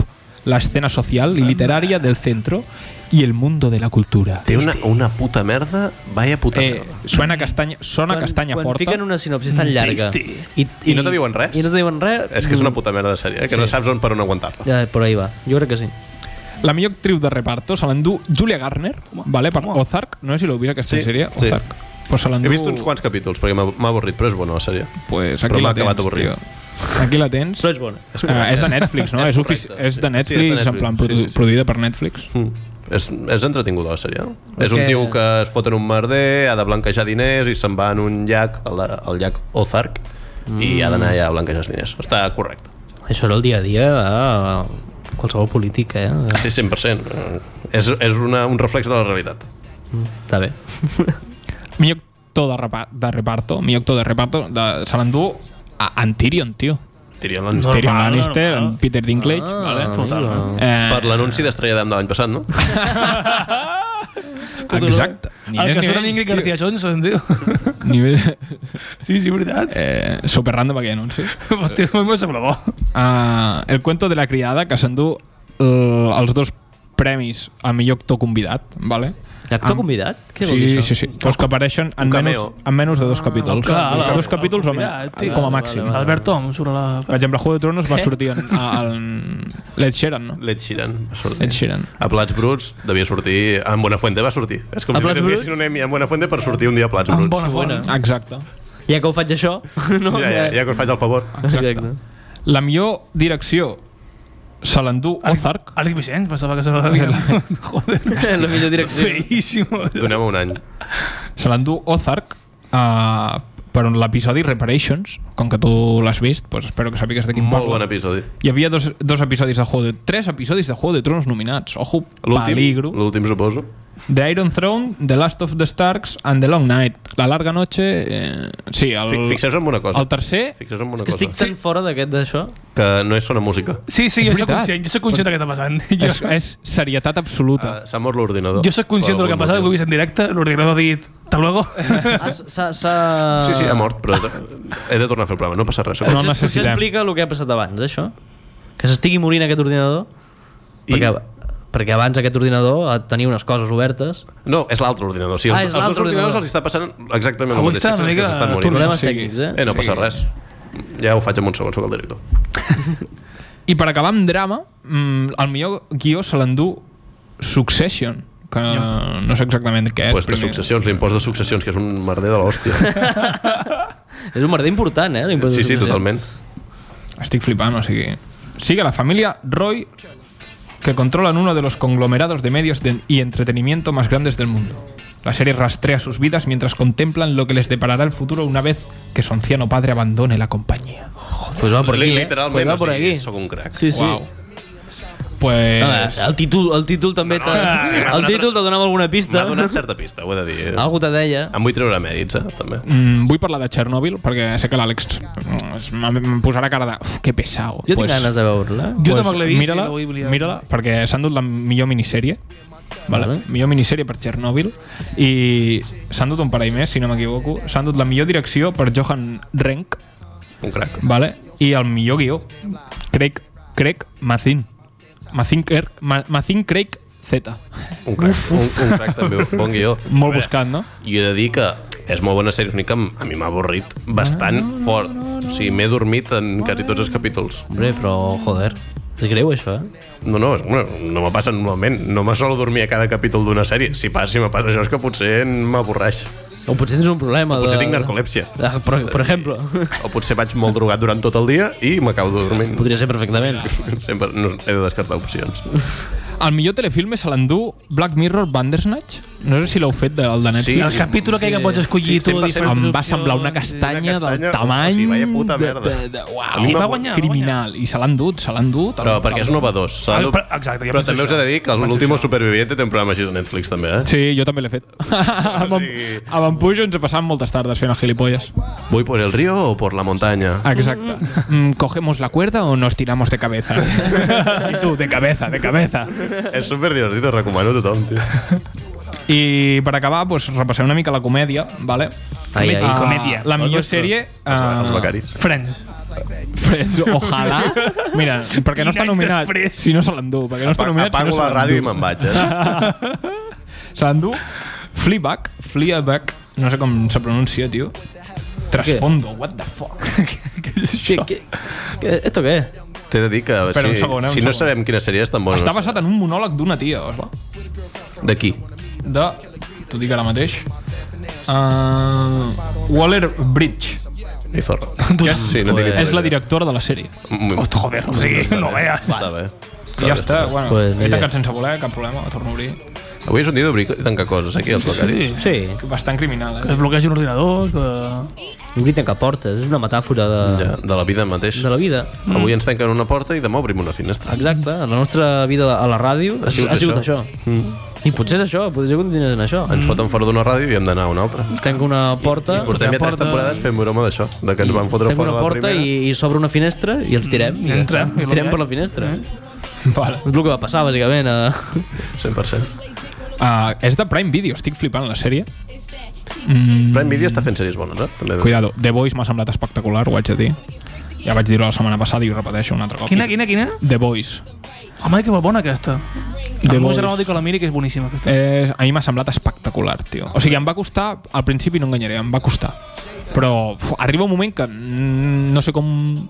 Speaker 4: la escena social y literaria del centro y el mundo de la cultura.
Speaker 2: Té una, una puta merda, vaya puta
Speaker 4: Eh,
Speaker 2: merda.
Speaker 4: suena castaña, sona castanya
Speaker 3: quan
Speaker 4: forta.
Speaker 3: fiquen una sinopsis tan llarga
Speaker 5: Tasty.
Speaker 3: i,
Speaker 2: I no te diuen res?
Speaker 3: i no te diuen res
Speaker 2: És que és una puta merda de sèrie, eh? que no saps on per on aguantar-la.
Speaker 3: ja, per ahí va jo crec que sí
Speaker 4: La millor actriu de reparto se l'endú Julia Garner, vale, per Ozark. No sé si l'heu vist aquesta
Speaker 2: Sí,
Speaker 4: sèrie,
Speaker 2: sí.
Speaker 4: Ozark. Pues se l'endú...
Speaker 2: He vist uns quants capítols, perquè m'ha m'ha avorrit, però és bona la sèrie.
Speaker 4: Pues
Speaker 2: però
Speaker 4: aquí
Speaker 2: m'ha
Speaker 4: la
Speaker 2: acabat
Speaker 4: tens,
Speaker 2: avorrint.
Speaker 4: tio. Aquí la tens.
Speaker 3: però és bona
Speaker 4: Ah, és de Netflix, no?
Speaker 2: És
Speaker 4: És, ofici-
Speaker 2: correcte.
Speaker 4: és
Speaker 2: Sí,
Speaker 4: de Netflix,
Speaker 2: sí, és de
Speaker 4: en plan
Speaker 2: Netflix,
Speaker 4: produ
Speaker 2: sí, sí, sí.
Speaker 4: produïda per Netflix.
Speaker 2: Mm. És, és entretinguda la sèrie. És un
Speaker 3: Perquè-
Speaker 2: tio que es fot en un merder, ha de blanquejar diners i se'n va en un llac, al, al llac Ozark, i ha d'anar allà a blanquejar els diners. Està correcte.
Speaker 3: això era el dia a dia de qualsevol política eh?
Speaker 2: Sí, 100%. Eh, És, és una, un reflex de la realitat.
Speaker 3: està bé
Speaker 4: Millor actor de, repa de reparto, millor actor de reparto, de, se l'endú a en Tyrion, tio.
Speaker 2: Tyrion
Speaker 4: No,
Speaker 2: Lannister.
Speaker 4: Tyrion
Speaker 5: normal,
Speaker 4: Lannister,
Speaker 5: normal.
Speaker 4: en Peter Dinklage. vale.
Speaker 3: Ah,
Speaker 2: Ah.
Speaker 3: total.
Speaker 4: Eh,
Speaker 2: Per l'anunci d'Estrella d'Am de l'any passat, no?
Speaker 4: exacte.
Speaker 3: Ah,
Speaker 4: Ni
Speaker 5: el
Speaker 4: més
Speaker 5: que
Speaker 4: ni
Speaker 5: surt en
Speaker 4: menys,
Speaker 5: Ingrid
Speaker 4: tio.
Speaker 5: García Johnson, tio.
Speaker 4: Nivell,
Speaker 5: Sí, sí, veritat.
Speaker 4: eh, super random aquell anunci.
Speaker 5: Hòstia, a mi me sembla bo.
Speaker 4: Ah, el cuento de la criada, que s'endú eh, els dos premis a millor actor convidat, vale?
Speaker 3: l'actor
Speaker 2: Ah.
Speaker 4: Amb-
Speaker 3: convidat? què vol dir
Speaker 4: Sí,
Speaker 3: això?
Speaker 4: sí, sí. Els que apareixen en menys,
Speaker 2: cameo.
Speaker 4: en menys de dos capítols.
Speaker 3: Ah,
Speaker 5: Clar, la-
Speaker 4: dos
Speaker 5: la-
Speaker 4: capítols o
Speaker 5: mira,
Speaker 4: menys,
Speaker 5: tio.
Speaker 4: com a màxim.
Speaker 3: vale.
Speaker 5: Albert Tom surt a la...
Speaker 4: Per exemple, Juego de Tronos va sortir en, en l'Ed Sheeran, no?
Speaker 2: L'Ed Sheeran. va sortir.
Speaker 4: Ed Sheeran.
Speaker 2: A Plats Bruts devia sortir... En Buenafuente va sortir. És com
Speaker 3: A
Speaker 2: si
Speaker 3: Plats
Speaker 2: li
Speaker 3: Bruts?
Speaker 2: tinguessin un Emmy a Buenafuente per sortir un dia a Plats
Speaker 5: Amb
Speaker 2: Bruts.
Speaker 5: bona
Speaker 3: bona.
Speaker 5: font.
Speaker 4: Exacte.
Speaker 3: ja que ho faig això... No?
Speaker 2: Ja, ja, ja que us faig el favor.
Speaker 3: Exacte.
Speaker 4: La millor direcció se l'endú Ozark.
Speaker 5: Àlex Vicenç, pensava que se l'havia... Joder,
Speaker 3: la millor direcció.
Speaker 5: Feíssimo.
Speaker 2: Donem un any.
Speaker 4: Se l'endú Ozark uh, per l'episodi Reparations. Com que tu l'has vist, pues espero que sàpigues de quin
Speaker 2: Molt
Speaker 4: parlo.
Speaker 2: bon episodi.
Speaker 4: Hi havia dos, dos episodis de Juego de... Tres episodis de Juego de Tronos nominats. Ojo,
Speaker 2: L'últim,
Speaker 4: peligro.
Speaker 2: l'últim suposo.
Speaker 4: The Iron Throne, The Last of the Starks and The Long Night. La larga noche... Eh, sí, el,
Speaker 2: Fi- Fixeu-vos en una cosa.
Speaker 4: el tercer...
Speaker 2: Fixeu-vos en una
Speaker 3: Que
Speaker 2: cosa.
Speaker 3: estic tan fora d'aquest d'això.
Speaker 2: Que no és sona música.
Speaker 5: Sí, sí,
Speaker 4: És
Speaker 5: jo soc
Speaker 4: veritat.
Speaker 5: conscient, jo soc conscient del que està passant. Jo,
Speaker 4: És, és serietat absoluta.
Speaker 2: Uh, S'ha mort l'ordinador.
Speaker 5: jo soc conscient del que ha passat, ho he vist en directe, l'ordinador ha dit, hasta luego.
Speaker 3: Ah, s'ha... s'ha...
Speaker 2: Sí, sí, ha mort, però he de tornar a fer el programa. No passa res.
Speaker 4: No el
Speaker 3: Potser
Speaker 4: necessitem.
Speaker 3: explica el que ha passat abans, això. Que s'estigui morint aquest ordinador.
Speaker 2: I-
Speaker 3: Perquè, perquè abans aquest ordinador tenia unes coses obertes.
Speaker 2: No, és l'altre ordinador. Sí, els,
Speaker 3: Ah, és
Speaker 2: els dos
Speaker 3: l'altre
Speaker 2: ordinadors
Speaker 3: ordinador.
Speaker 2: els està passant exactament el
Speaker 5: Avui
Speaker 2: mateix. que
Speaker 5: està una
Speaker 2: s'estan- que
Speaker 5: mica
Speaker 2: s'estan morint.
Speaker 3: Problemes
Speaker 4: sí.
Speaker 3: tècnics, eh?
Speaker 2: Eh, no passa res. Ja ho faig amb un segon, sóc el director.
Speaker 4: I per acabar amb drama, mm, el millor guió se l'endú Succession, que no sé exactament què és.
Speaker 2: Pues de
Speaker 4: primer.
Speaker 2: successions, l'impost de successions, que és un merder de l'hòstia.
Speaker 3: És un merder important, eh? l'impost de
Speaker 2: Sí, sí,
Speaker 3: successions.
Speaker 2: totalment.
Speaker 4: Estic flipant, o sigui... Sigue la familia Roy, que controlan uno de los conglomerados de medios de- y entretenimiento más grandes del mundo. La serie rastrea sus vidas mientras contemplan lo que les deparará el futuro una vez que su anciano padre abandone la compañía.
Speaker 3: Pues va per aquí, eh? pues
Speaker 2: Literalment,
Speaker 3: va
Speaker 2: o
Speaker 3: per aquí.
Speaker 2: sigui, sóc un crac.
Speaker 3: Sí, sí.
Speaker 4: Guau. Pues...
Speaker 3: Ah, el títol, el títol també t'ha... el títol te donava alguna pista.
Speaker 2: M'ha donat certa pista, ho he de dir. eh?
Speaker 3: Algú te deia.
Speaker 2: Em vull treure mèrits, eh, també.
Speaker 4: Mm, vull parlar de Chernobyl perquè sé que l'Àlex mm, es- em em posarà cara de "Uf, que pesado. Pues,
Speaker 3: Jo tinc ganes de veure-la.
Speaker 5: Jo tampoc l'he vist i
Speaker 4: Mira-la,
Speaker 5: la vull oblidar.
Speaker 4: mira perquè s'han dut la millor minissèrie. Vale.
Speaker 3: Vale.
Speaker 4: Millor minissèrie per Chernobyl i s'han dut un parell més, si no m'equivoco. S'han dut la millor direcció per Johan Renck
Speaker 2: Un crac.
Speaker 4: vale? i el millor guió. Craig, Craig Mazin. Mazin, Kirk, Ma, Mazin Craig Z.
Speaker 2: Un crac. Un, un crac també. Bon guió.
Speaker 4: Molt buscat, no?
Speaker 2: I he de dir que és molt bona sèrie, única a mi m'ha avorrit bastant fort. O sigui, m'he dormit en quasi tots els capítols.
Speaker 3: Hombre, però, joder, és greu això, eh?
Speaker 2: No, no, és- bueno, no me passa normalment. No me solo dormir a cada capítol d'una sèrie. Si passa, si me passa això és que potser m'avorreix.
Speaker 3: O potser tens un problema.
Speaker 2: Potser
Speaker 3: de...
Speaker 2: tinc narcolèpsia.
Speaker 3: Ah, per, per exemple.
Speaker 2: O potser vaig molt drogat durant tot el dia i m'acabo dormint.
Speaker 3: Podria ser perfectament.
Speaker 2: Sempre no, he de descartar opcions.
Speaker 4: El millor telefilme se l'endú Black Mirror Bandersnatch. No sé si l'heu fet del de Netflix.
Speaker 2: Sí,
Speaker 5: El capítol aquell que pots escollir
Speaker 2: Sí,
Speaker 5: tu,
Speaker 2: sempre
Speaker 5: diferents
Speaker 4: em va
Speaker 5: opcions.
Speaker 4: semblar una castanya,
Speaker 2: castanya,
Speaker 4: del
Speaker 2: o
Speaker 4: tamany
Speaker 2: sigui, vaya puta
Speaker 4: de,
Speaker 2: merda.
Speaker 4: de, de, uau,
Speaker 2: A mi
Speaker 4: I
Speaker 2: va
Speaker 4: va
Speaker 5: guanyar, va
Speaker 4: criminal i se l'han dut, se l'han dut
Speaker 2: Però perquè és innovador. s'ha de-
Speaker 5: Però- exacte, jo
Speaker 2: Però
Speaker 5: penso
Speaker 2: també us he
Speaker 5: això.
Speaker 2: de dir que l'último superviviente té un programa així a Netflix també, eh?
Speaker 4: Sí, jo també l'he fet
Speaker 2: Ah,
Speaker 4: amb, en-
Speaker 2: sigui-
Speaker 4: amb en Pujo ens passàvem moltes tardes fent el gilipolles
Speaker 2: Voy por el río o por la montaña.
Speaker 4: Exacte mm, ¿Cogemos la cuerda o nos tiramos de cabeza? I tu, de cabeza, de cabeza
Speaker 2: És superdivertit, ho recomano a tothom, tio.
Speaker 4: I per acabar, pues, repassem una mica la comèdia vale?
Speaker 3: Ai, ai.
Speaker 4: Ah,
Speaker 5: comèdia.
Speaker 4: La millor sèrie
Speaker 2: Els
Speaker 4: ah,
Speaker 2: becaris.
Speaker 5: Friends.
Speaker 4: Friends, ojalà Mira, perquè no està
Speaker 5: Quin anys
Speaker 4: nominat
Speaker 5: després.
Speaker 4: Si no se l'endú Perquè no està nominat si
Speaker 2: Apago
Speaker 4: no se
Speaker 2: la ràdio i
Speaker 4: l'endú.
Speaker 2: me'n vaig, eh?
Speaker 4: Se l'endú Fleabag, Fleabag, no sé com se pronuncia, tio. Trasfondo, what the fuck? Què és
Speaker 3: Què,
Speaker 4: això?
Speaker 3: què, què, esto què?
Speaker 2: T'he de dir que si,
Speaker 4: Espera, un segon, eh, un
Speaker 2: si no
Speaker 4: segon.
Speaker 2: sabem quina sèrie és tan bona...
Speaker 4: Està basat en un monòleg d'una tia, o va?
Speaker 2: De qui?
Speaker 4: De... T'ho dic ara mateix. Uh, Waller Bridge,
Speaker 2: Ni zorra. Sí, no tinc ni
Speaker 4: és la
Speaker 2: idea.
Speaker 4: directora de la sèrie.
Speaker 2: Mm,
Speaker 5: Joder, o sigui, no veas.
Speaker 2: Està bé.
Speaker 4: I ja està, bueno,
Speaker 3: Pues,
Speaker 4: he
Speaker 3: ni
Speaker 4: tancat sense voler, cap problema, torno a obrir.
Speaker 2: Avui és un dia d'obrir i tancar coses aquí, els becaris.
Speaker 3: Sí,
Speaker 4: Bastant criminal,
Speaker 5: Que
Speaker 4: eh?
Speaker 5: es bloqueja un ordinador, que...
Speaker 3: obrint que portes, és una metàfora de,
Speaker 2: Ja, de la vida mateix.
Speaker 3: de la vida.
Speaker 2: Avui ens tanquen una porta i demà obrim una finestra.
Speaker 3: Exacte, la nostra vida a la ràdio ha sigut, ha sigut això.
Speaker 2: Mm.
Speaker 3: I potser és això, potser continues en això.
Speaker 2: Ens foten fora d'una ràdio i hem d'anar a una altra.
Speaker 3: Tanco una porta,
Speaker 2: Portem ja tres temporades fent broma d'això, de que ens van fotre
Speaker 3: tanco
Speaker 2: fora
Speaker 3: una
Speaker 2: la
Speaker 3: porta
Speaker 2: primera. Mm.
Speaker 3: i, i s'obre una finestra i ens tirem. I ja
Speaker 5: Entrem,
Speaker 3: està.
Speaker 5: i
Speaker 3: ens
Speaker 5: lo
Speaker 3: tirem
Speaker 5: que
Speaker 3: per
Speaker 5: hay.
Speaker 3: la finestra.
Speaker 2: Eh?
Speaker 4: Vale.
Speaker 3: És el que va passar, bàsicament. A...
Speaker 2: 100%.
Speaker 4: Uh, és de Prime Video, estic flipant la sèrie.
Speaker 2: Prime Video està fent sèries bones, eh? També he de dir.
Speaker 4: Cuidado, The Voice m'ha semblat espectacular, ho haig de dir. Ja vaig dir-ho la setmana passada i ho repeteixo un altre cop.
Speaker 5: Quina, quina, quina?
Speaker 4: The Voice.
Speaker 5: Home, que bona aquesta.
Speaker 4: The
Speaker 5: El meu
Speaker 4: Boys.
Speaker 5: germà diu que la miri, que és boníssima aquesta.
Speaker 4: Eh, a mi m'ha semblat espectacular, tio. O sigui, em va costar, al principi no enganyaré, em va costar. Però uf, arriba un moment que mm, no sé com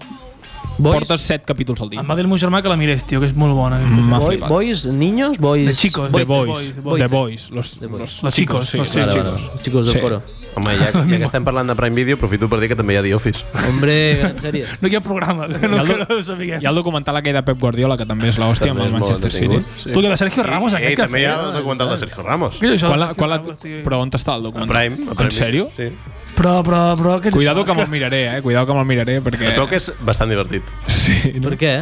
Speaker 3: Boys?
Speaker 4: Portes set capítols al dia.
Speaker 5: Em va dir el meu germà que la mirés, tio, que és molt bona. Aquesta.
Speaker 4: M'ha
Speaker 3: Boys,
Speaker 4: flipat.
Speaker 3: boys, niños, boys.
Speaker 5: De chicos,
Speaker 4: The
Speaker 5: Boys,
Speaker 4: Boys.
Speaker 5: The Boys,
Speaker 4: The Boys. Los, los,
Speaker 5: Los chicos, los
Speaker 4: sí,
Speaker 3: Vale, vale,
Speaker 4: chicos.
Speaker 3: vale. Chicos del
Speaker 4: Sí.
Speaker 3: coro.
Speaker 2: Home, ja, ja que estem parlant de Prime Video, aprofito per dir que també hi ha The Office.
Speaker 3: Hombre, en sèrie.
Speaker 5: No hi ha programa, que no, que no ho sapiguem.
Speaker 4: Hi ha el documental aquell de Pep Guardiola, que també és l'hòstia amb
Speaker 2: També
Speaker 4: el Eh,
Speaker 2: és molt
Speaker 4: Manchester City.
Speaker 2: entretingut.
Speaker 5: Tu, que de Sergio Ramos,
Speaker 2: Ei,
Speaker 5: aquest que
Speaker 2: també hi ha
Speaker 5: feia,
Speaker 2: el documental de Sergio Ramos.
Speaker 5: Què és això?
Speaker 4: Quan la, quan la,
Speaker 5: Ramos, tio.
Speaker 4: però on està el
Speaker 2: A
Speaker 4: documental?
Speaker 2: Prime. A Prime
Speaker 4: En sèrio?
Speaker 2: Sí.
Speaker 5: Però, però, però... Què és
Speaker 4: Cuidado
Speaker 5: això?
Speaker 4: que me'l miraré, eh? Cuidado que me'l miraré, perquè...
Speaker 2: Es veu que és bastant divertit.
Speaker 4: Sí.
Speaker 3: Per què?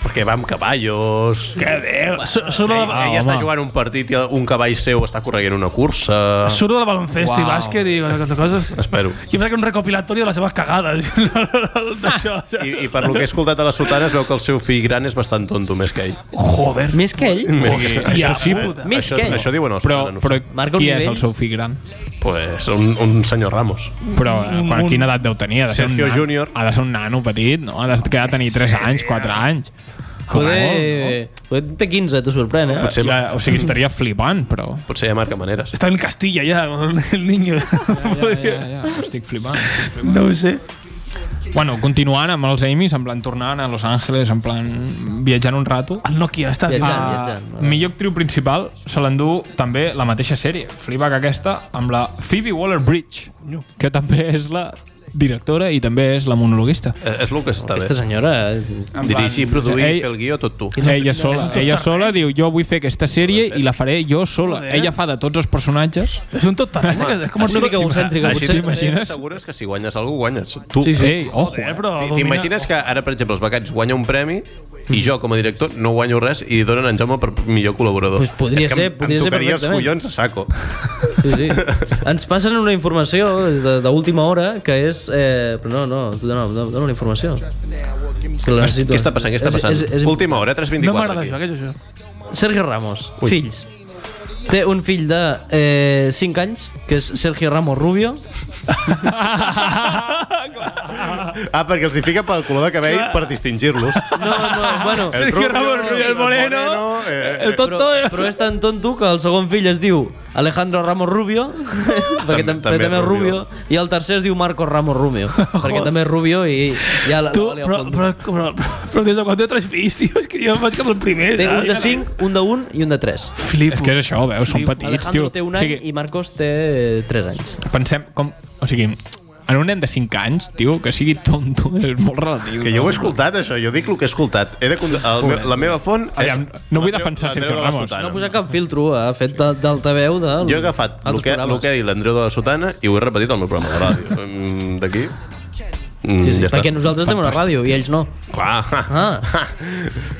Speaker 2: Perquè va amb cavallos... Que Déu!
Speaker 5: Su- Surt de la-
Speaker 2: Ella està
Speaker 4: home.
Speaker 2: jugant un partit i un cavall seu està correguent una cursa...
Speaker 5: surt del baloncesto i bàsquet i aquestes coses.
Speaker 2: Espero.
Speaker 5: Jo crec que un recopilatori de les seves cagades. D'això,
Speaker 2: I, I per lo que he escoltat a la sotana es veu que el seu fill gran és bastant tonto, més que ell.
Speaker 5: Joder.
Speaker 3: Més que ell?
Speaker 5: Hòstia,
Speaker 4: sí,
Speaker 5: puta.
Speaker 3: Més
Speaker 2: això,
Speaker 3: que ell.
Speaker 2: això diuen els
Speaker 4: Però,
Speaker 2: nanos.
Speaker 4: però
Speaker 3: Marca un
Speaker 4: qui és
Speaker 3: nivell.
Speaker 4: el seu fill gran?
Speaker 2: Pues un, un senyor Ramos.
Speaker 4: Però eh, quan, quina edat deu tenir? Ha de ser
Speaker 2: Sergio
Speaker 4: un nan-
Speaker 2: Junior.
Speaker 4: Ha de ser un nano petit, no? Ha de quedar a tenir 3 anys, 4 anys. Com a molt,
Speaker 3: Poder, poder té 15, t'ho sorprèn, eh?
Speaker 2: Potser,
Speaker 4: no? La, o sigui, estaria flipant, però...
Speaker 2: potser ja marca maneres.
Speaker 5: Está en Castilla ya, el niño.
Speaker 4: Ja, ja, ja, estic flipant. Estic flipant.
Speaker 5: No ho sé.
Speaker 4: Bueno, continuant amb els Amys, en plan tornant a Los Angeles, en plan viatjant un rato.
Speaker 5: El Ah, Nokia està
Speaker 3: Viatjant,
Speaker 5: viatjant.
Speaker 3: viatjant.
Speaker 4: Ah, millor actriu principal se l'endú també la mateixa sèrie, Fleabag aquesta, amb la Phoebe Waller-Bridge, que també és la directora i també és la monologuista.
Speaker 2: Eh, És el que està
Speaker 3: Aquesta
Speaker 2: bé.
Speaker 3: senyora...
Speaker 2: Dirigir, produir,
Speaker 4: Ell-
Speaker 2: fer el guió, tot tu.
Speaker 4: Ella sola, ella sola diu, jo vull fer aquesta sèrie i la faré jo sola.
Speaker 5: Joder.
Speaker 4: Ella fa de tots els personatges.
Speaker 5: És un tot talent, eh? és com
Speaker 3: És una mica
Speaker 5: Ah,
Speaker 3: egocèntrica,
Speaker 2: Així
Speaker 3: potser.
Speaker 4: t'imagines?
Speaker 2: T'assegures que si guanyes algú, guanyes. Tu.
Speaker 4: Sí, sí. Ei, ojo,
Speaker 5: Eh,
Speaker 4: eh?
Speaker 5: però
Speaker 2: T-
Speaker 5: domina-
Speaker 2: T'imagines que ara, per exemple, els becaris guanya un premi i jo, com a director, no guanyo res i donen en Jaume per millor col·laborador.
Speaker 3: Pues podria
Speaker 2: És que em-
Speaker 3: ser, podria
Speaker 2: em
Speaker 3: ser
Speaker 2: tocaria els
Speaker 3: perfectament.
Speaker 2: collons a saco.
Speaker 3: Sí, sí. Ens passen una informació des de- d'última hora que és... Eh, però no, no, tu dona, dona dona una informació. Que la necessito.
Speaker 2: Què està passant? Què està
Speaker 3: doncs, És-
Speaker 2: passant?
Speaker 3: és- és-
Speaker 2: Última hora,
Speaker 5: No
Speaker 2: 3.24.
Speaker 5: m'agrada
Speaker 2: aquí.
Speaker 5: això, què és això?
Speaker 3: Sergio Ramos, fills. Té un fill de eh, 5 anys, que és Sergio Ramos Rubio.
Speaker 2: Ah, perquè els hi fica pel color de cabell per distingir-los.
Speaker 3: No, no, bueno...
Speaker 2: El
Speaker 5: Sergio
Speaker 2: rubio,
Speaker 5: Ramos, el moreno,
Speaker 2: eh, eh,
Speaker 5: El tot
Speaker 3: Però, però és tan tonto que el segon fill es diu Alejandro Ramos Rubio, perquè tam també, també és Rubio, i el tercer es diu Marcos Ramos Rubio, perquè també és Rubio i ja la,
Speaker 5: Tu,
Speaker 3: la,
Speaker 5: però, però, però, però des de quan té tres fills, tio, és que jo vaig cap al primer.
Speaker 3: Té un
Speaker 5: saps?
Speaker 3: de 5, un de 1 i un de 3.
Speaker 5: Flipo.
Speaker 4: És que és això, veus, són petits,
Speaker 3: Alejandro
Speaker 4: tio.
Speaker 3: té un
Speaker 4: O
Speaker 3: any
Speaker 4: sigui,
Speaker 3: i Marcos té 3 anys.
Speaker 4: pensem com... O sigui, en un nen de 5 anys, tio, que sigui tonto, és molt relatiu.
Speaker 2: Que jo ho he escoltat, això. Jo dic el que he escoltat. He de cond- el meu, la meva font és...
Speaker 4: Aviam, no vull
Speaker 2: la teu-
Speaker 4: defensar
Speaker 2: la teu
Speaker 4: Sergio
Speaker 2: de la
Speaker 4: Ramos.
Speaker 2: sotana.
Speaker 3: No ha posat cap filtro, ha fet de- d'altaveu de...
Speaker 2: Jo he agafat el que, el que ha dit l'Andreu de la Sotana i ho he repetit al meu programa de ràdio. Mm, D'aquí... Mm,
Speaker 3: Sí, sí,
Speaker 2: ja
Speaker 3: perquè
Speaker 2: està.
Speaker 3: nosaltres tenim una ràdio i ells no.
Speaker 2: Clar,
Speaker 3: Ah,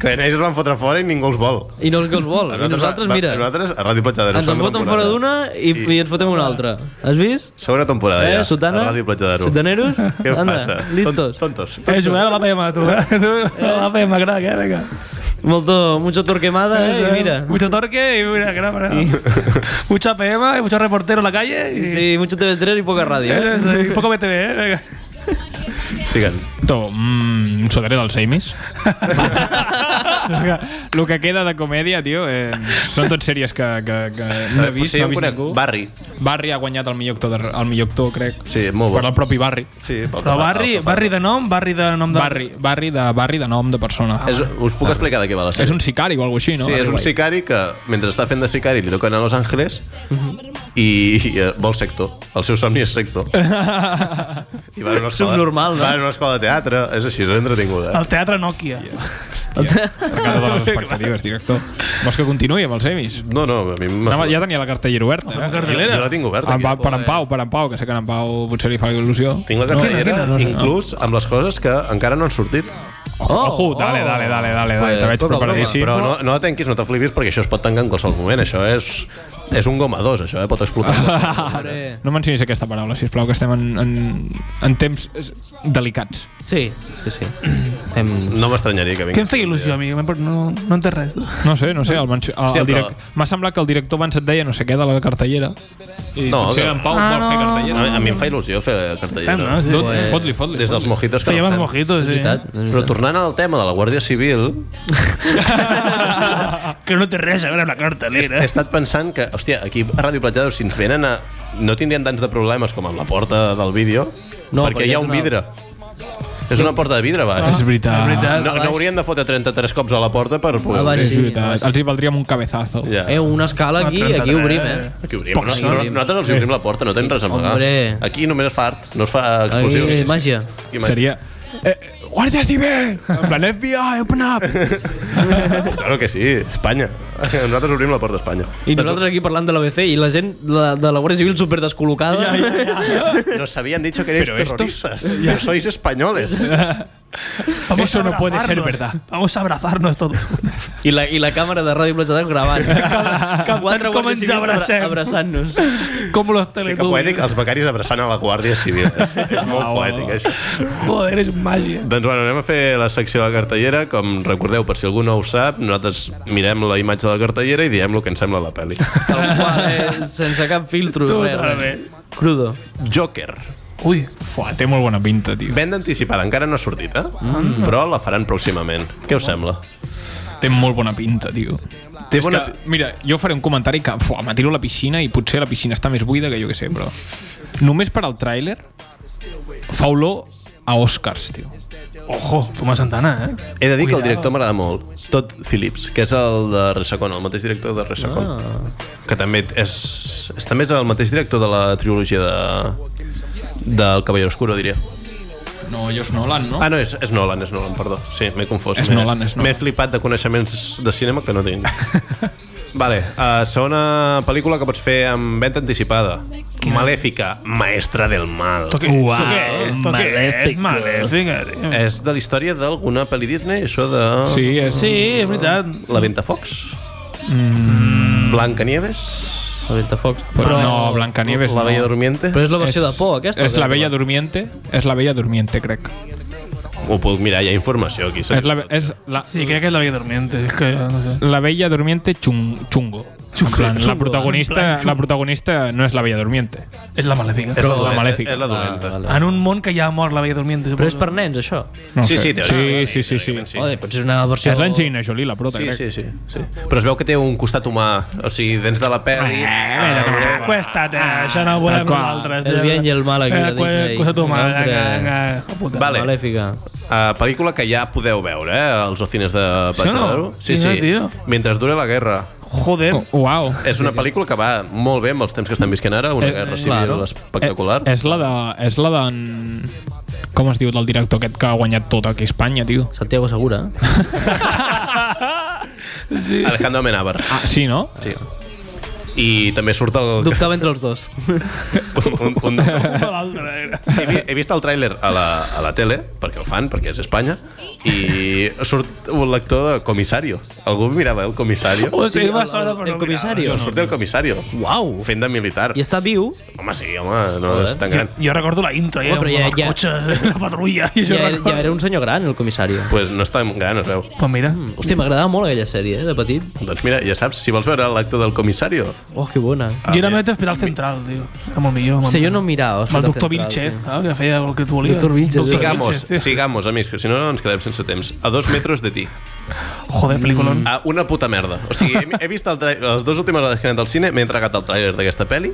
Speaker 2: que ells es van fotre fora i ningú els vol.
Speaker 3: i no els que els vol. I nosaltres,
Speaker 2: va-
Speaker 3: mira,
Speaker 2: Nosaltres, a Ràdio Platja d'Aro.
Speaker 3: ens en
Speaker 2: segona
Speaker 3: foten
Speaker 2: temporada.
Speaker 3: fora d'una i, i ens fotem una altra. Has vist?
Speaker 2: Segona temporada,
Speaker 3: Eh,
Speaker 2: Ah, ja.
Speaker 3: sotana?
Speaker 2: A Ràdio Platja d'Aro.
Speaker 3: Sotaneros?
Speaker 2: Què
Speaker 3: Anda,
Speaker 2: passa? Ton-
Speaker 3: listos.
Speaker 2: Tontos.
Speaker 5: Eh, juguem a la PM, tu. eh? Tu, A la PM, crac, eh, vinga.
Speaker 3: Molto, mucho torquemada, eh, y mira.
Speaker 5: Mucho torque y mira, crac, crac. Mucha PM, y mucho reportero en la calle. Y...
Speaker 3: Sí, mucho TV3 y poca radio.
Speaker 5: Eso,
Speaker 3: ¿eh?
Speaker 5: eso, y poco BTV, eh, venga.
Speaker 2: Siguen.
Speaker 4: To, mm, sodaré dels Amis. el que queda de comèdia, tio, eh, són tot sèries que, que, que no he vist,
Speaker 2: Sí, jo
Speaker 4: no he
Speaker 2: en
Speaker 4: vist
Speaker 2: conec.
Speaker 4: ningú.
Speaker 2: Barri.
Speaker 4: Barri ha guanyat el millor actor, de, el millor actor crec.
Speaker 2: Sí, molt
Speaker 4: Per
Speaker 2: bo.
Speaker 4: al propi Barri.
Speaker 2: Sí, pel que
Speaker 5: Però
Speaker 2: fa-
Speaker 5: barri,
Speaker 2: pel que fa-
Speaker 5: barri de nom, barri de nom de...
Speaker 4: Barri, barri, de, barri de nom de persona.
Speaker 2: És, us puc explicar de què va la sèrie?
Speaker 4: Ah, és un sicari o alguna així, no?
Speaker 2: Sí, és un sicari que mentre està fent de sicari li toquen a Los Angeles i, i eh, vol sector. El seu somni és sector. I va a una escola,
Speaker 3: Subnormal, no?
Speaker 2: Va a una escola de teatre, és així, és entretinguda.
Speaker 5: El teatre Nokia. Em
Speaker 4: Trencar totes les expectatives, director. Vols que continuï amb els Amis?
Speaker 2: No, no, a mi m'ha...
Speaker 4: Anava, ja tenia la cartellera oberta. Eh?
Speaker 2: Jo, jo la tinc oberta.
Speaker 4: En
Speaker 2: Aquí.
Speaker 4: pa, per en Pau, per en Pau, que sé que en Pau potser li fa il·lusió.
Speaker 2: Tinc la cartellera, inclús amb les coses que encara no han sortit.
Speaker 3: Oh,
Speaker 4: Ojo, dale, dale, dale, dale, dale, te veig
Speaker 3: poca broma.
Speaker 4: preparadíssim.
Speaker 2: Però no, no la tanquis, no t'aflipis, perquè això es pot tancar en qualsevol moment. Això és, és un goma 2, això, eh? pot explotar.
Speaker 4: Ah.
Speaker 3: Hombre.
Speaker 4: No mencionis aquesta paraula, si plau, que estem en, en, en temps eh, delicats.
Speaker 3: Sí, sí, sí. Em...
Speaker 2: No m'estranyaria que
Speaker 5: Què
Speaker 2: vingui.
Speaker 5: em feia il·lusió a mi? No, no entenc res.
Speaker 4: No sé, no sé, el, mencio- el,
Speaker 2: Hòstia,
Speaker 4: el direct...
Speaker 2: però-
Speaker 4: M'ha semblat que el director abans et deia no sé què de la cartellera. I
Speaker 2: No,
Speaker 4: no, potser
Speaker 2: que-
Speaker 4: en Pau
Speaker 5: Ah,
Speaker 4: vol fer
Speaker 5: no.
Speaker 4: cartellera.
Speaker 2: A, mi- a mi em fa il·lusió fer cartellera.
Speaker 5: Fem, no? Sí.
Speaker 4: Tot,
Speaker 3: Pues-
Speaker 4: fot-li, fot-li.
Speaker 2: Des dels mojitos que no
Speaker 5: Feia
Speaker 2: fem.
Speaker 5: mojitos, sí.
Speaker 2: Però tornant al tema de la Guàrdia Civil,
Speaker 5: que no té res a veure amb la cartelera.
Speaker 2: he estat pensant que, hòstia, aquí a Ràdio Platjador, si ens venen a... No tindríem tants de problemes com amb la porta del vídeo,
Speaker 3: No,
Speaker 2: perquè hi ha
Speaker 3: és
Speaker 2: un
Speaker 3: una-
Speaker 2: vidre. És una porta de vidre, baix.
Speaker 4: Ah, és veritat. És veritat,
Speaker 2: No,
Speaker 4: baix.
Speaker 2: no haurien de fotre 33 cops a la porta per poder...
Speaker 4: Ah,
Speaker 2: obrir.
Speaker 4: és veritat. Els hi valdríem un cabezazo.
Speaker 2: Ja.
Speaker 3: Eh, una escala aquí, aquí obrim, eh?
Speaker 2: Aquí obrim.
Speaker 3: Poc
Speaker 2: No,
Speaker 3: sí,
Speaker 2: no,
Speaker 3: obrim.
Speaker 2: nosaltres els obrim la porta, no tens res a amagar.
Speaker 3: Hombre.
Speaker 2: Aquí només es fa art, no es fa explosius.
Speaker 3: Aquí, màgia.
Speaker 2: Aquí màgia.
Speaker 4: Seria... Eh, Guàrdia Civil! En plan FBI, open up!
Speaker 2: Claro que sí, Espanya. Nosaltres obrim la porta a Espanya.
Speaker 3: I nosaltres aquí parlant de l'ABC i la gent la, de la Guàrdia Civil super descol·locada. Ja, ja, ja.
Speaker 2: Nos habían dicho que erais
Speaker 4: Pero estos-
Speaker 2: terroristas. Ya sois españoles.
Speaker 5: Vamos
Speaker 4: Eso
Speaker 5: a
Speaker 4: no puede ser
Speaker 5: abrazarnos.
Speaker 4: verdad.
Speaker 5: Vamos a abrazarnos todos.
Speaker 3: I, la, I la càmera de Ràdio Platja d'Aro gravant. Quatre
Speaker 5: com
Speaker 3: Guàrdies
Speaker 5: ens
Speaker 3: Civils abra-
Speaker 5: abracem.
Speaker 3: abraçant-nos.
Speaker 5: Como los
Speaker 2: Que poètic,
Speaker 5: teletubbies.
Speaker 2: els becaris abraçant a la Guàrdia Civil. és molt poètic, això.
Speaker 5: Joder, eres un eh. màgia.
Speaker 2: Doncs bueno, anem a fer la secció de la cartellera. Com recordeu, per si algú no ho sap, nosaltres mirem la imatge de la cartellera i diem el que ens sembla la pel·li.
Speaker 3: Tal qual, eh? Sense cap filtro. res, res.
Speaker 5: Totalment.
Speaker 3: Crudo.
Speaker 2: Joker.
Speaker 5: Ui,
Speaker 4: Fuà, té molt bona pinta, tio.
Speaker 2: Venda anticipada, encara no ha sortit, eh? Mm. Però la faran pròximament. Què us sembla?
Speaker 4: Té molt bona pinta, tio.
Speaker 2: Té
Speaker 4: És
Speaker 2: bona...
Speaker 4: que, mira, jo faré un comentari que fuà, me tiro a la piscina i potser la piscina està més buida que jo que sé, però... Només per al tràiler fa olor a Oscars, tio.
Speaker 5: ojo, Tomás Santana, eh?
Speaker 2: He de dir que el director m'agrada molt, Todd Phillips, que és el de Resacon, el mateix director de Resacon. Ah. Que també és, és... També és el mateix director de la trilogia de, del Cavallero Oscuro, diria.
Speaker 4: No, jo és Nolan, no?
Speaker 2: Ah, no, és, és Nolan, és Nolan, perdó. Sí, m'he confós.
Speaker 4: És
Speaker 2: M'he-
Speaker 4: Nolan, és Nolan.
Speaker 2: M'he flipat de coneixements de cinema que no tinc. vale, uh, segona pel·lícula que pots fer amb venda anticipada. Malèfica, maestra del mal.
Speaker 5: Toque, wow, esto que es maléfica, tio.
Speaker 2: És de la història d'alguna pel·li Disney, això de...
Speaker 4: Sí, és...
Speaker 5: Sí, és veritat.
Speaker 2: La Ventafocs? Mm. Blanca Nieves?
Speaker 3: La Ventafocs.
Speaker 4: Però, no, Blancanieves
Speaker 2: La
Speaker 4: no.
Speaker 2: Bella Durmiente?
Speaker 3: Però és la versió de por, aquesta.
Speaker 4: És la Bella Durmiente, és la Bella Durmiente, crec.
Speaker 2: Ho puc mirar, hi ha informació aquí.
Speaker 4: És la, és la,
Speaker 5: Sí, crec que és la vida dormiente. És que, no sé.
Speaker 4: la Bella Durmiente chung, chungo. En plan, la protagonista, la protagonista no és la Bella Durmiente.
Speaker 5: És la maléfica.
Speaker 2: és la,
Speaker 4: la
Speaker 2: dolenta,
Speaker 4: Malèfica.
Speaker 2: És la dolenta.
Speaker 3: vale.
Speaker 5: En un món que ja ha mort la vida dormiente.
Speaker 3: Però és per nens, això.
Speaker 4: No ho
Speaker 2: Sí, sí,
Speaker 4: sé.
Speaker 2: teòricament
Speaker 4: sí, sí, sí, sí.
Speaker 2: teòricament
Speaker 3: Sí. Oi, potser és una versió...
Speaker 4: És l'Angelina Jolie, la prota,
Speaker 2: Sí,
Speaker 4: crec.
Speaker 2: sí, sí, sí. Però es veu que té un costat humà, o sigui, dents de la peli...
Speaker 5: Ah, Acuéstate, això no ho volem
Speaker 4: Tal qual.
Speaker 5: nosaltres.
Speaker 3: El bien i el mal aquí, de Disney.
Speaker 5: Cosa Eh, pues, tu, mal,
Speaker 3: Hombre.
Speaker 5: vinga, vinga, hijo puta.
Speaker 2: Vale.
Speaker 3: Malèfica.
Speaker 2: Uh, pel·lícula que ja podeu veure, eh, als cines de Platja
Speaker 5: no?
Speaker 2: d'Aro. Sí,
Speaker 5: Quina,
Speaker 2: sí.
Speaker 5: tio.
Speaker 2: Mentre dure la guerra.
Speaker 5: Joder.
Speaker 4: Oh, uau.
Speaker 2: És una pel·lícula que va molt bé amb els temps que estan visquent ara, una
Speaker 4: Eh,
Speaker 2: guerra
Speaker 4: eh,
Speaker 2: civil
Speaker 3: claro.
Speaker 2: espectacular.
Speaker 4: Eh, és la de... És la de... Com es diu del director aquest que ha guanyat tot aquí a Espanya, tio?
Speaker 3: Santiago Segura.
Speaker 2: Alejandro Amenábar.
Speaker 4: Ah, sí, no?
Speaker 2: Sí. I també surt el...
Speaker 3: Dubtava entre els dos.
Speaker 2: un, un,
Speaker 5: L'altre era.
Speaker 2: he, vi- he vist el tràiler a, la, a la tele, perquè el fan, perquè és Espanya, i surt un lector de Comisario. Algú mirava el Comisario?
Speaker 5: Hòstia,
Speaker 3: Sí,
Speaker 5: va
Speaker 3: el-
Speaker 5: sola, però
Speaker 3: el
Speaker 5: no
Speaker 3: comissari.
Speaker 5: mirava.
Speaker 2: Jo surt el Comisario.
Speaker 3: Uau.
Speaker 2: Fent de militar.
Speaker 3: I està viu.
Speaker 2: Home, sí, home, no és tan gran.
Speaker 5: Jo recordo la intro, eh?
Speaker 3: Home,
Speaker 5: Home,
Speaker 3: però
Speaker 5: però
Speaker 3: ja-
Speaker 5: els
Speaker 3: ja-
Speaker 5: cotxes, la patrulla. I
Speaker 3: Ja,
Speaker 5: jo
Speaker 3: era-
Speaker 5: recordo.
Speaker 3: ja era un senyor gran, el comissari.
Speaker 2: Pues no és tan gran, es veu.
Speaker 5: Pues mira,
Speaker 3: Hòstia, m'agradava molt aquella sèrie, eh, de petit.
Speaker 2: Doncs mira, ja saps, si vols veure l'acte del Comisario,
Speaker 3: Oh, que bona.
Speaker 5: jo era més d'Hospital Central, tio. Era molt millor.
Speaker 3: O sigui, jo no mirava.
Speaker 5: Amb el doctor Vilchez, saps? Que feia el que tu volies.
Speaker 3: Doctor Vilchez,
Speaker 5: Doctor
Speaker 2: Sigamos,
Speaker 5: Vilchez, tio.
Speaker 2: sigamos, amics, que si no ens quedem sense temps. A dos metres de ti.
Speaker 5: Joder,
Speaker 3: Hmm.
Speaker 5: peliculón.
Speaker 2: A una puta merda. O sigui, he, he vist el tra- les dues últimes vegades que he anat al cine, m'he entregat el tràiler d'aquesta pel·li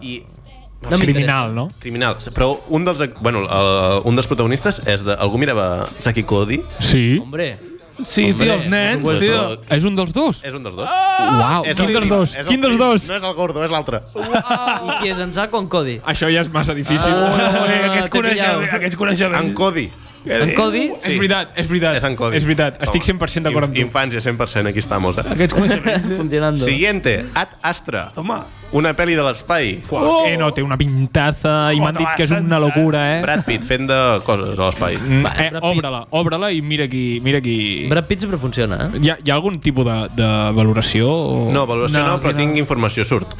Speaker 2: i...
Speaker 3: No m'interessa.
Speaker 4: Criminal, no?
Speaker 2: Criminal. Però un dels, ac- bueno, el, un dels protagonistes és de... Algú mirava Saki Cody?
Speaker 4: Sí.
Speaker 3: Hombre,
Speaker 5: Sí,
Speaker 3: Hombre,
Speaker 5: tio, els nens,
Speaker 2: és,
Speaker 5: tio.
Speaker 2: el,
Speaker 4: És un dels dos?
Speaker 2: és un dels dos.
Speaker 4: Uau,
Speaker 2: Eh, és
Speaker 4: Ah, quin
Speaker 2: el
Speaker 4: dels
Speaker 2: primo,
Speaker 4: dos?
Speaker 2: és el
Speaker 4: Quin dels
Speaker 2: primo.
Speaker 4: dos?
Speaker 2: No és el gordo, és l'altre.
Speaker 3: i qui és en Zac o en Cody?
Speaker 4: Això ja és massa difícil.
Speaker 5: Oh, eh,
Speaker 3: Ah,
Speaker 5: Aquests
Speaker 3: t'he pillat.
Speaker 5: coneixements, aquests coneixements. Eh,
Speaker 2: En Cody.
Speaker 3: En Cody?
Speaker 2: Sí.
Speaker 4: És veritat, és veritat.
Speaker 2: És en Cody.
Speaker 4: És veritat, estic
Speaker 2: Home,
Speaker 4: 100% d'acord amb tu.
Speaker 2: Infància, 100%, aquí estamos. Eh?
Speaker 5: Aquests coneixements.
Speaker 3: Funcionando.
Speaker 2: Siguiente, Ad Astra.
Speaker 5: Home,
Speaker 2: Una pel·li de l'espai.
Speaker 4: Fuà, que no, té una pintaza i m'han dit que és una locura, eh?
Speaker 2: Brad Pitt fent de coses a l'espai.
Speaker 4: Mm,
Speaker 3: Va,
Speaker 4: eh
Speaker 3: Brad Pitt.
Speaker 4: Obre-la, obre-la i mira qui... Mira qui...
Speaker 3: Brad Pitt sempre funciona, eh?
Speaker 4: Hi ha, hi ha algun tipus de, de valoració? O...
Speaker 2: No, valoració no,
Speaker 5: No,
Speaker 2: no però
Speaker 5: quina-
Speaker 2: tinc informació, surt.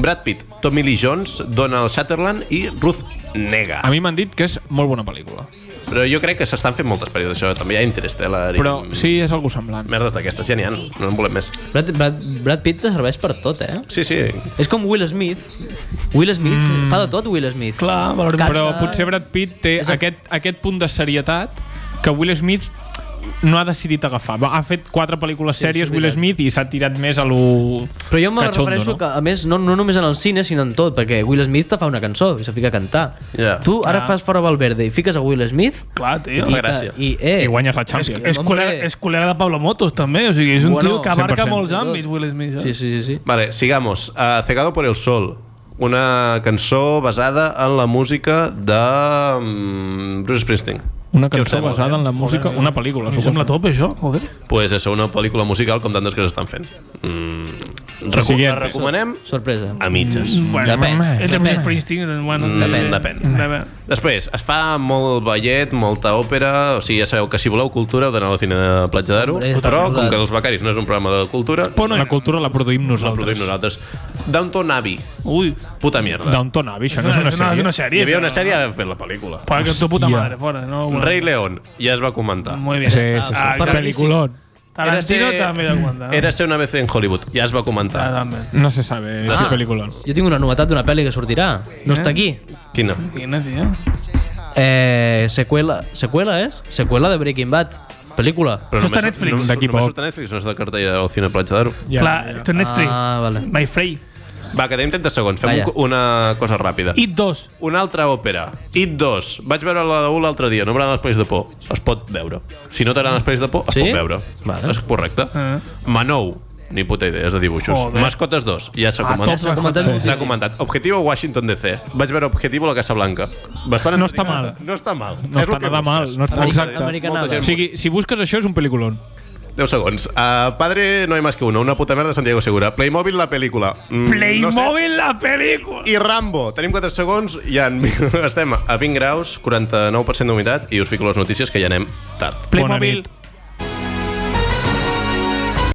Speaker 2: Brad Pitt, Tommy Lee Jones, Donald Sutherland i Ruth Nega.
Speaker 4: A mi m'han dit que és molt bona pel·lícula.
Speaker 2: Però jo crec que s'estan fent moltes pel·lícules d'això. També hi ha Interstellar i
Speaker 4: Però sí, és algú semblant.
Speaker 2: merdes d'aquestes. Ja n'hi ha, no en volem més.
Speaker 3: Brad, Brad, Brad Pitt te serveix per tot, eh?
Speaker 2: Sí, sí.
Speaker 3: És com Will Smith. Will Smith mm. fa de tot, Will Smith.
Speaker 5: clar, valorem.
Speaker 3: Canta.
Speaker 4: Però potser Brad Pitt té
Speaker 3: És el-
Speaker 4: aquest, aquest punt de serietat que Will Smith no ha decidit agafar. Va, Ha fet quatre pel·lícules
Speaker 3: Sí,
Speaker 4: sèries
Speaker 3: és
Speaker 4: Will
Speaker 3: veritat.
Speaker 4: Smith i s'ha tirat més a lo
Speaker 3: Però jo me
Speaker 4: cachondo,
Speaker 3: refereixo
Speaker 4: no?
Speaker 3: que, a més, no, no només en el cine, sinó en tot, perquè Will Smith te fa una cançó i se fica a cantar.
Speaker 2: Ja.
Speaker 3: Tu ara
Speaker 4: Ah.
Speaker 3: fas fora Valverde i fiques a Will Smith
Speaker 5: Clar, tio.
Speaker 2: Fa
Speaker 3: i,
Speaker 2: gràcia.
Speaker 3: i, eh,
Speaker 4: I guanyes la
Speaker 5: És,
Speaker 4: Champions.
Speaker 5: és,
Speaker 3: Hombre.
Speaker 5: col·lega, és col·lega de Pablo Motos, també. O sigui, és un
Speaker 3: Bueno,
Speaker 5: tio que abarca
Speaker 4: 100%.
Speaker 5: molts àmbits, Will Smith.
Speaker 3: Sí,
Speaker 5: Eh?
Speaker 3: sí, sí. sí.
Speaker 2: Vale, sigamos. Uh, Cegado por el Sol, una cançó basada en la música de mm, Bruce Springsteen.
Speaker 4: Una
Speaker 2: Què us
Speaker 4: cançó
Speaker 2: sembla,
Speaker 4: basada
Speaker 2: eh?
Speaker 4: en la música, una pel·lícula.
Speaker 5: Em sembla top, això, joder.
Speaker 2: Pues és una pel·lícula musical com tantes que s'estan fent. Mm, recu la
Speaker 4: siguiente.
Speaker 2: recomanem
Speaker 3: Sorpresa.
Speaker 2: a mitges.
Speaker 5: Bueno,
Speaker 3: Depèn.
Speaker 5: és de Bruce Springsteen, bueno,
Speaker 2: Depèn.
Speaker 5: depèn. depèn.
Speaker 2: Després, es fa molt ballet, molta òpera, o sigui, ja sabeu que si voleu cultura heu d'anar al cine de Platja d'Aro,
Speaker 3: Hombre,
Speaker 2: però
Speaker 3: totalment.
Speaker 2: com que els becaris no és un programa de cultura,
Speaker 4: Bueno, la cultura la produïm
Speaker 2: la
Speaker 4: nosaltres.
Speaker 2: produïm nosaltres. Downton Abbey,
Speaker 5: Ui,
Speaker 2: puta mierda.
Speaker 4: Downton Abbey, això no és una sèrie.
Speaker 5: És una
Speaker 2: Hi
Speaker 5: sèrie.
Speaker 2: havia una sèrie de fer la pel·lícula.
Speaker 5: Para que tu puta
Speaker 4: Hòstia.
Speaker 5: madre, fora. No, bueno.
Speaker 2: Rei León, ja es va comentar.
Speaker 5: Muy bien.
Speaker 4: Sí, sí,
Speaker 5: Ah,
Speaker 4: sí.
Speaker 5: ah,
Speaker 4: Ah, Peliculón.
Speaker 5: Tarantino també aguanta. eh? Ah,
Speaker 2: Era ser una vez en Hollywood, ja es va comentar.
Speaker 5: Totalment.
Speaker 4: No se sabe si
Speaker 3: Ah.
Speaker 4: peliculón.
Speaker 3: Jo tinc una novetat d'una pel·li que sortirà. No està aquí.
Speaker 2: Quina?
Speaker 5: Quina, tio.
Speaker 3: Eh, seqüela. Seqüela és? Seqüela de Breaking Bad. Pel·lícula.
Speaker 2: Però
Speaker 5: Això està
Speaker 2: només-
Speaker 5: a Netflix.
Speaker 2: no-
Speaker 4: D'aquí
Speaker 2: només
Speaker 4: poc.
Speaker 2: surt a Netflix, no és de cartella al cine Platja d'Aro.
Speaker 4: Ja,
Speaker 5: Clar,
Speaker 4: ja.
Speaker 5: esto es Netflix.
Speaker 3: Ah, vale.
Speaker 5: My Frey.
Speaker 2: Va, que tenim 30 segons, fem
Speaker 3: Vaya.
Speaker 2: un, una cosa ràpida.
Speaker 5: It 2.
Speaker 2: Una altra òpera, It 2. Vaig veure la de 1 l'altre dia, no m'agraden els pel·lis de por. Es pot veure. Si no t'agraden els pel·lis de por, es
Speaker 3: Sí?
Speaker 2: pot veure.
Speaker 3: Vale.
Speaker 2: És correcte.
Speaker 4: Ah.
Speaker 2: Manou, ni puta idea, és de dibuixos.
Speaker 5: Joder.
Speaker 2: Mascotes 2, ja
Speaker 4: Ah,
Speaker 2: s'ha
Speaker 3: Ja
Speaker 2: comentat.
Speaker 3: s'ha comentat
Speaker 2: S'ha
Speaker 3: moltíssim.
Speaker 2: comentat. Objetivo Washington DC. Vaig veure Objetivo la Casa Blanca. Bastant
Speaker 4: No està
Speaker 2: entretinguda. No està mal.
Speaker 4: No
Speaker 2: És
Speaker 4: està
Speaker 2: el que
Speaker 4: nada mal,
Speaker 2: busques.
Speaker 4: no està-
Speaker 2: Molta
Speaker 4: Exacte.
Speaker 2: gent- molta
Speaker 3: Americanada.
Speaker 2: gent-
Speaker 4: O sigui, si busques això és un peliculón.
Speaker 2: 10 segons. Uh, padre, no hay más que uno. Una puta merda, Santiago Segura. Playmobil, la pel·lícula. Mm, No sé.
Speaker 5: Playmobil, la pel·lícula.
Speaker 2: I Rambo. Tenim 4 segons. Ja en... estem a 20 graus, 49% d'humitat i us fico les notícies que ja anem tard.
Speaker 5: Playmobil,
Speaker 4: nit.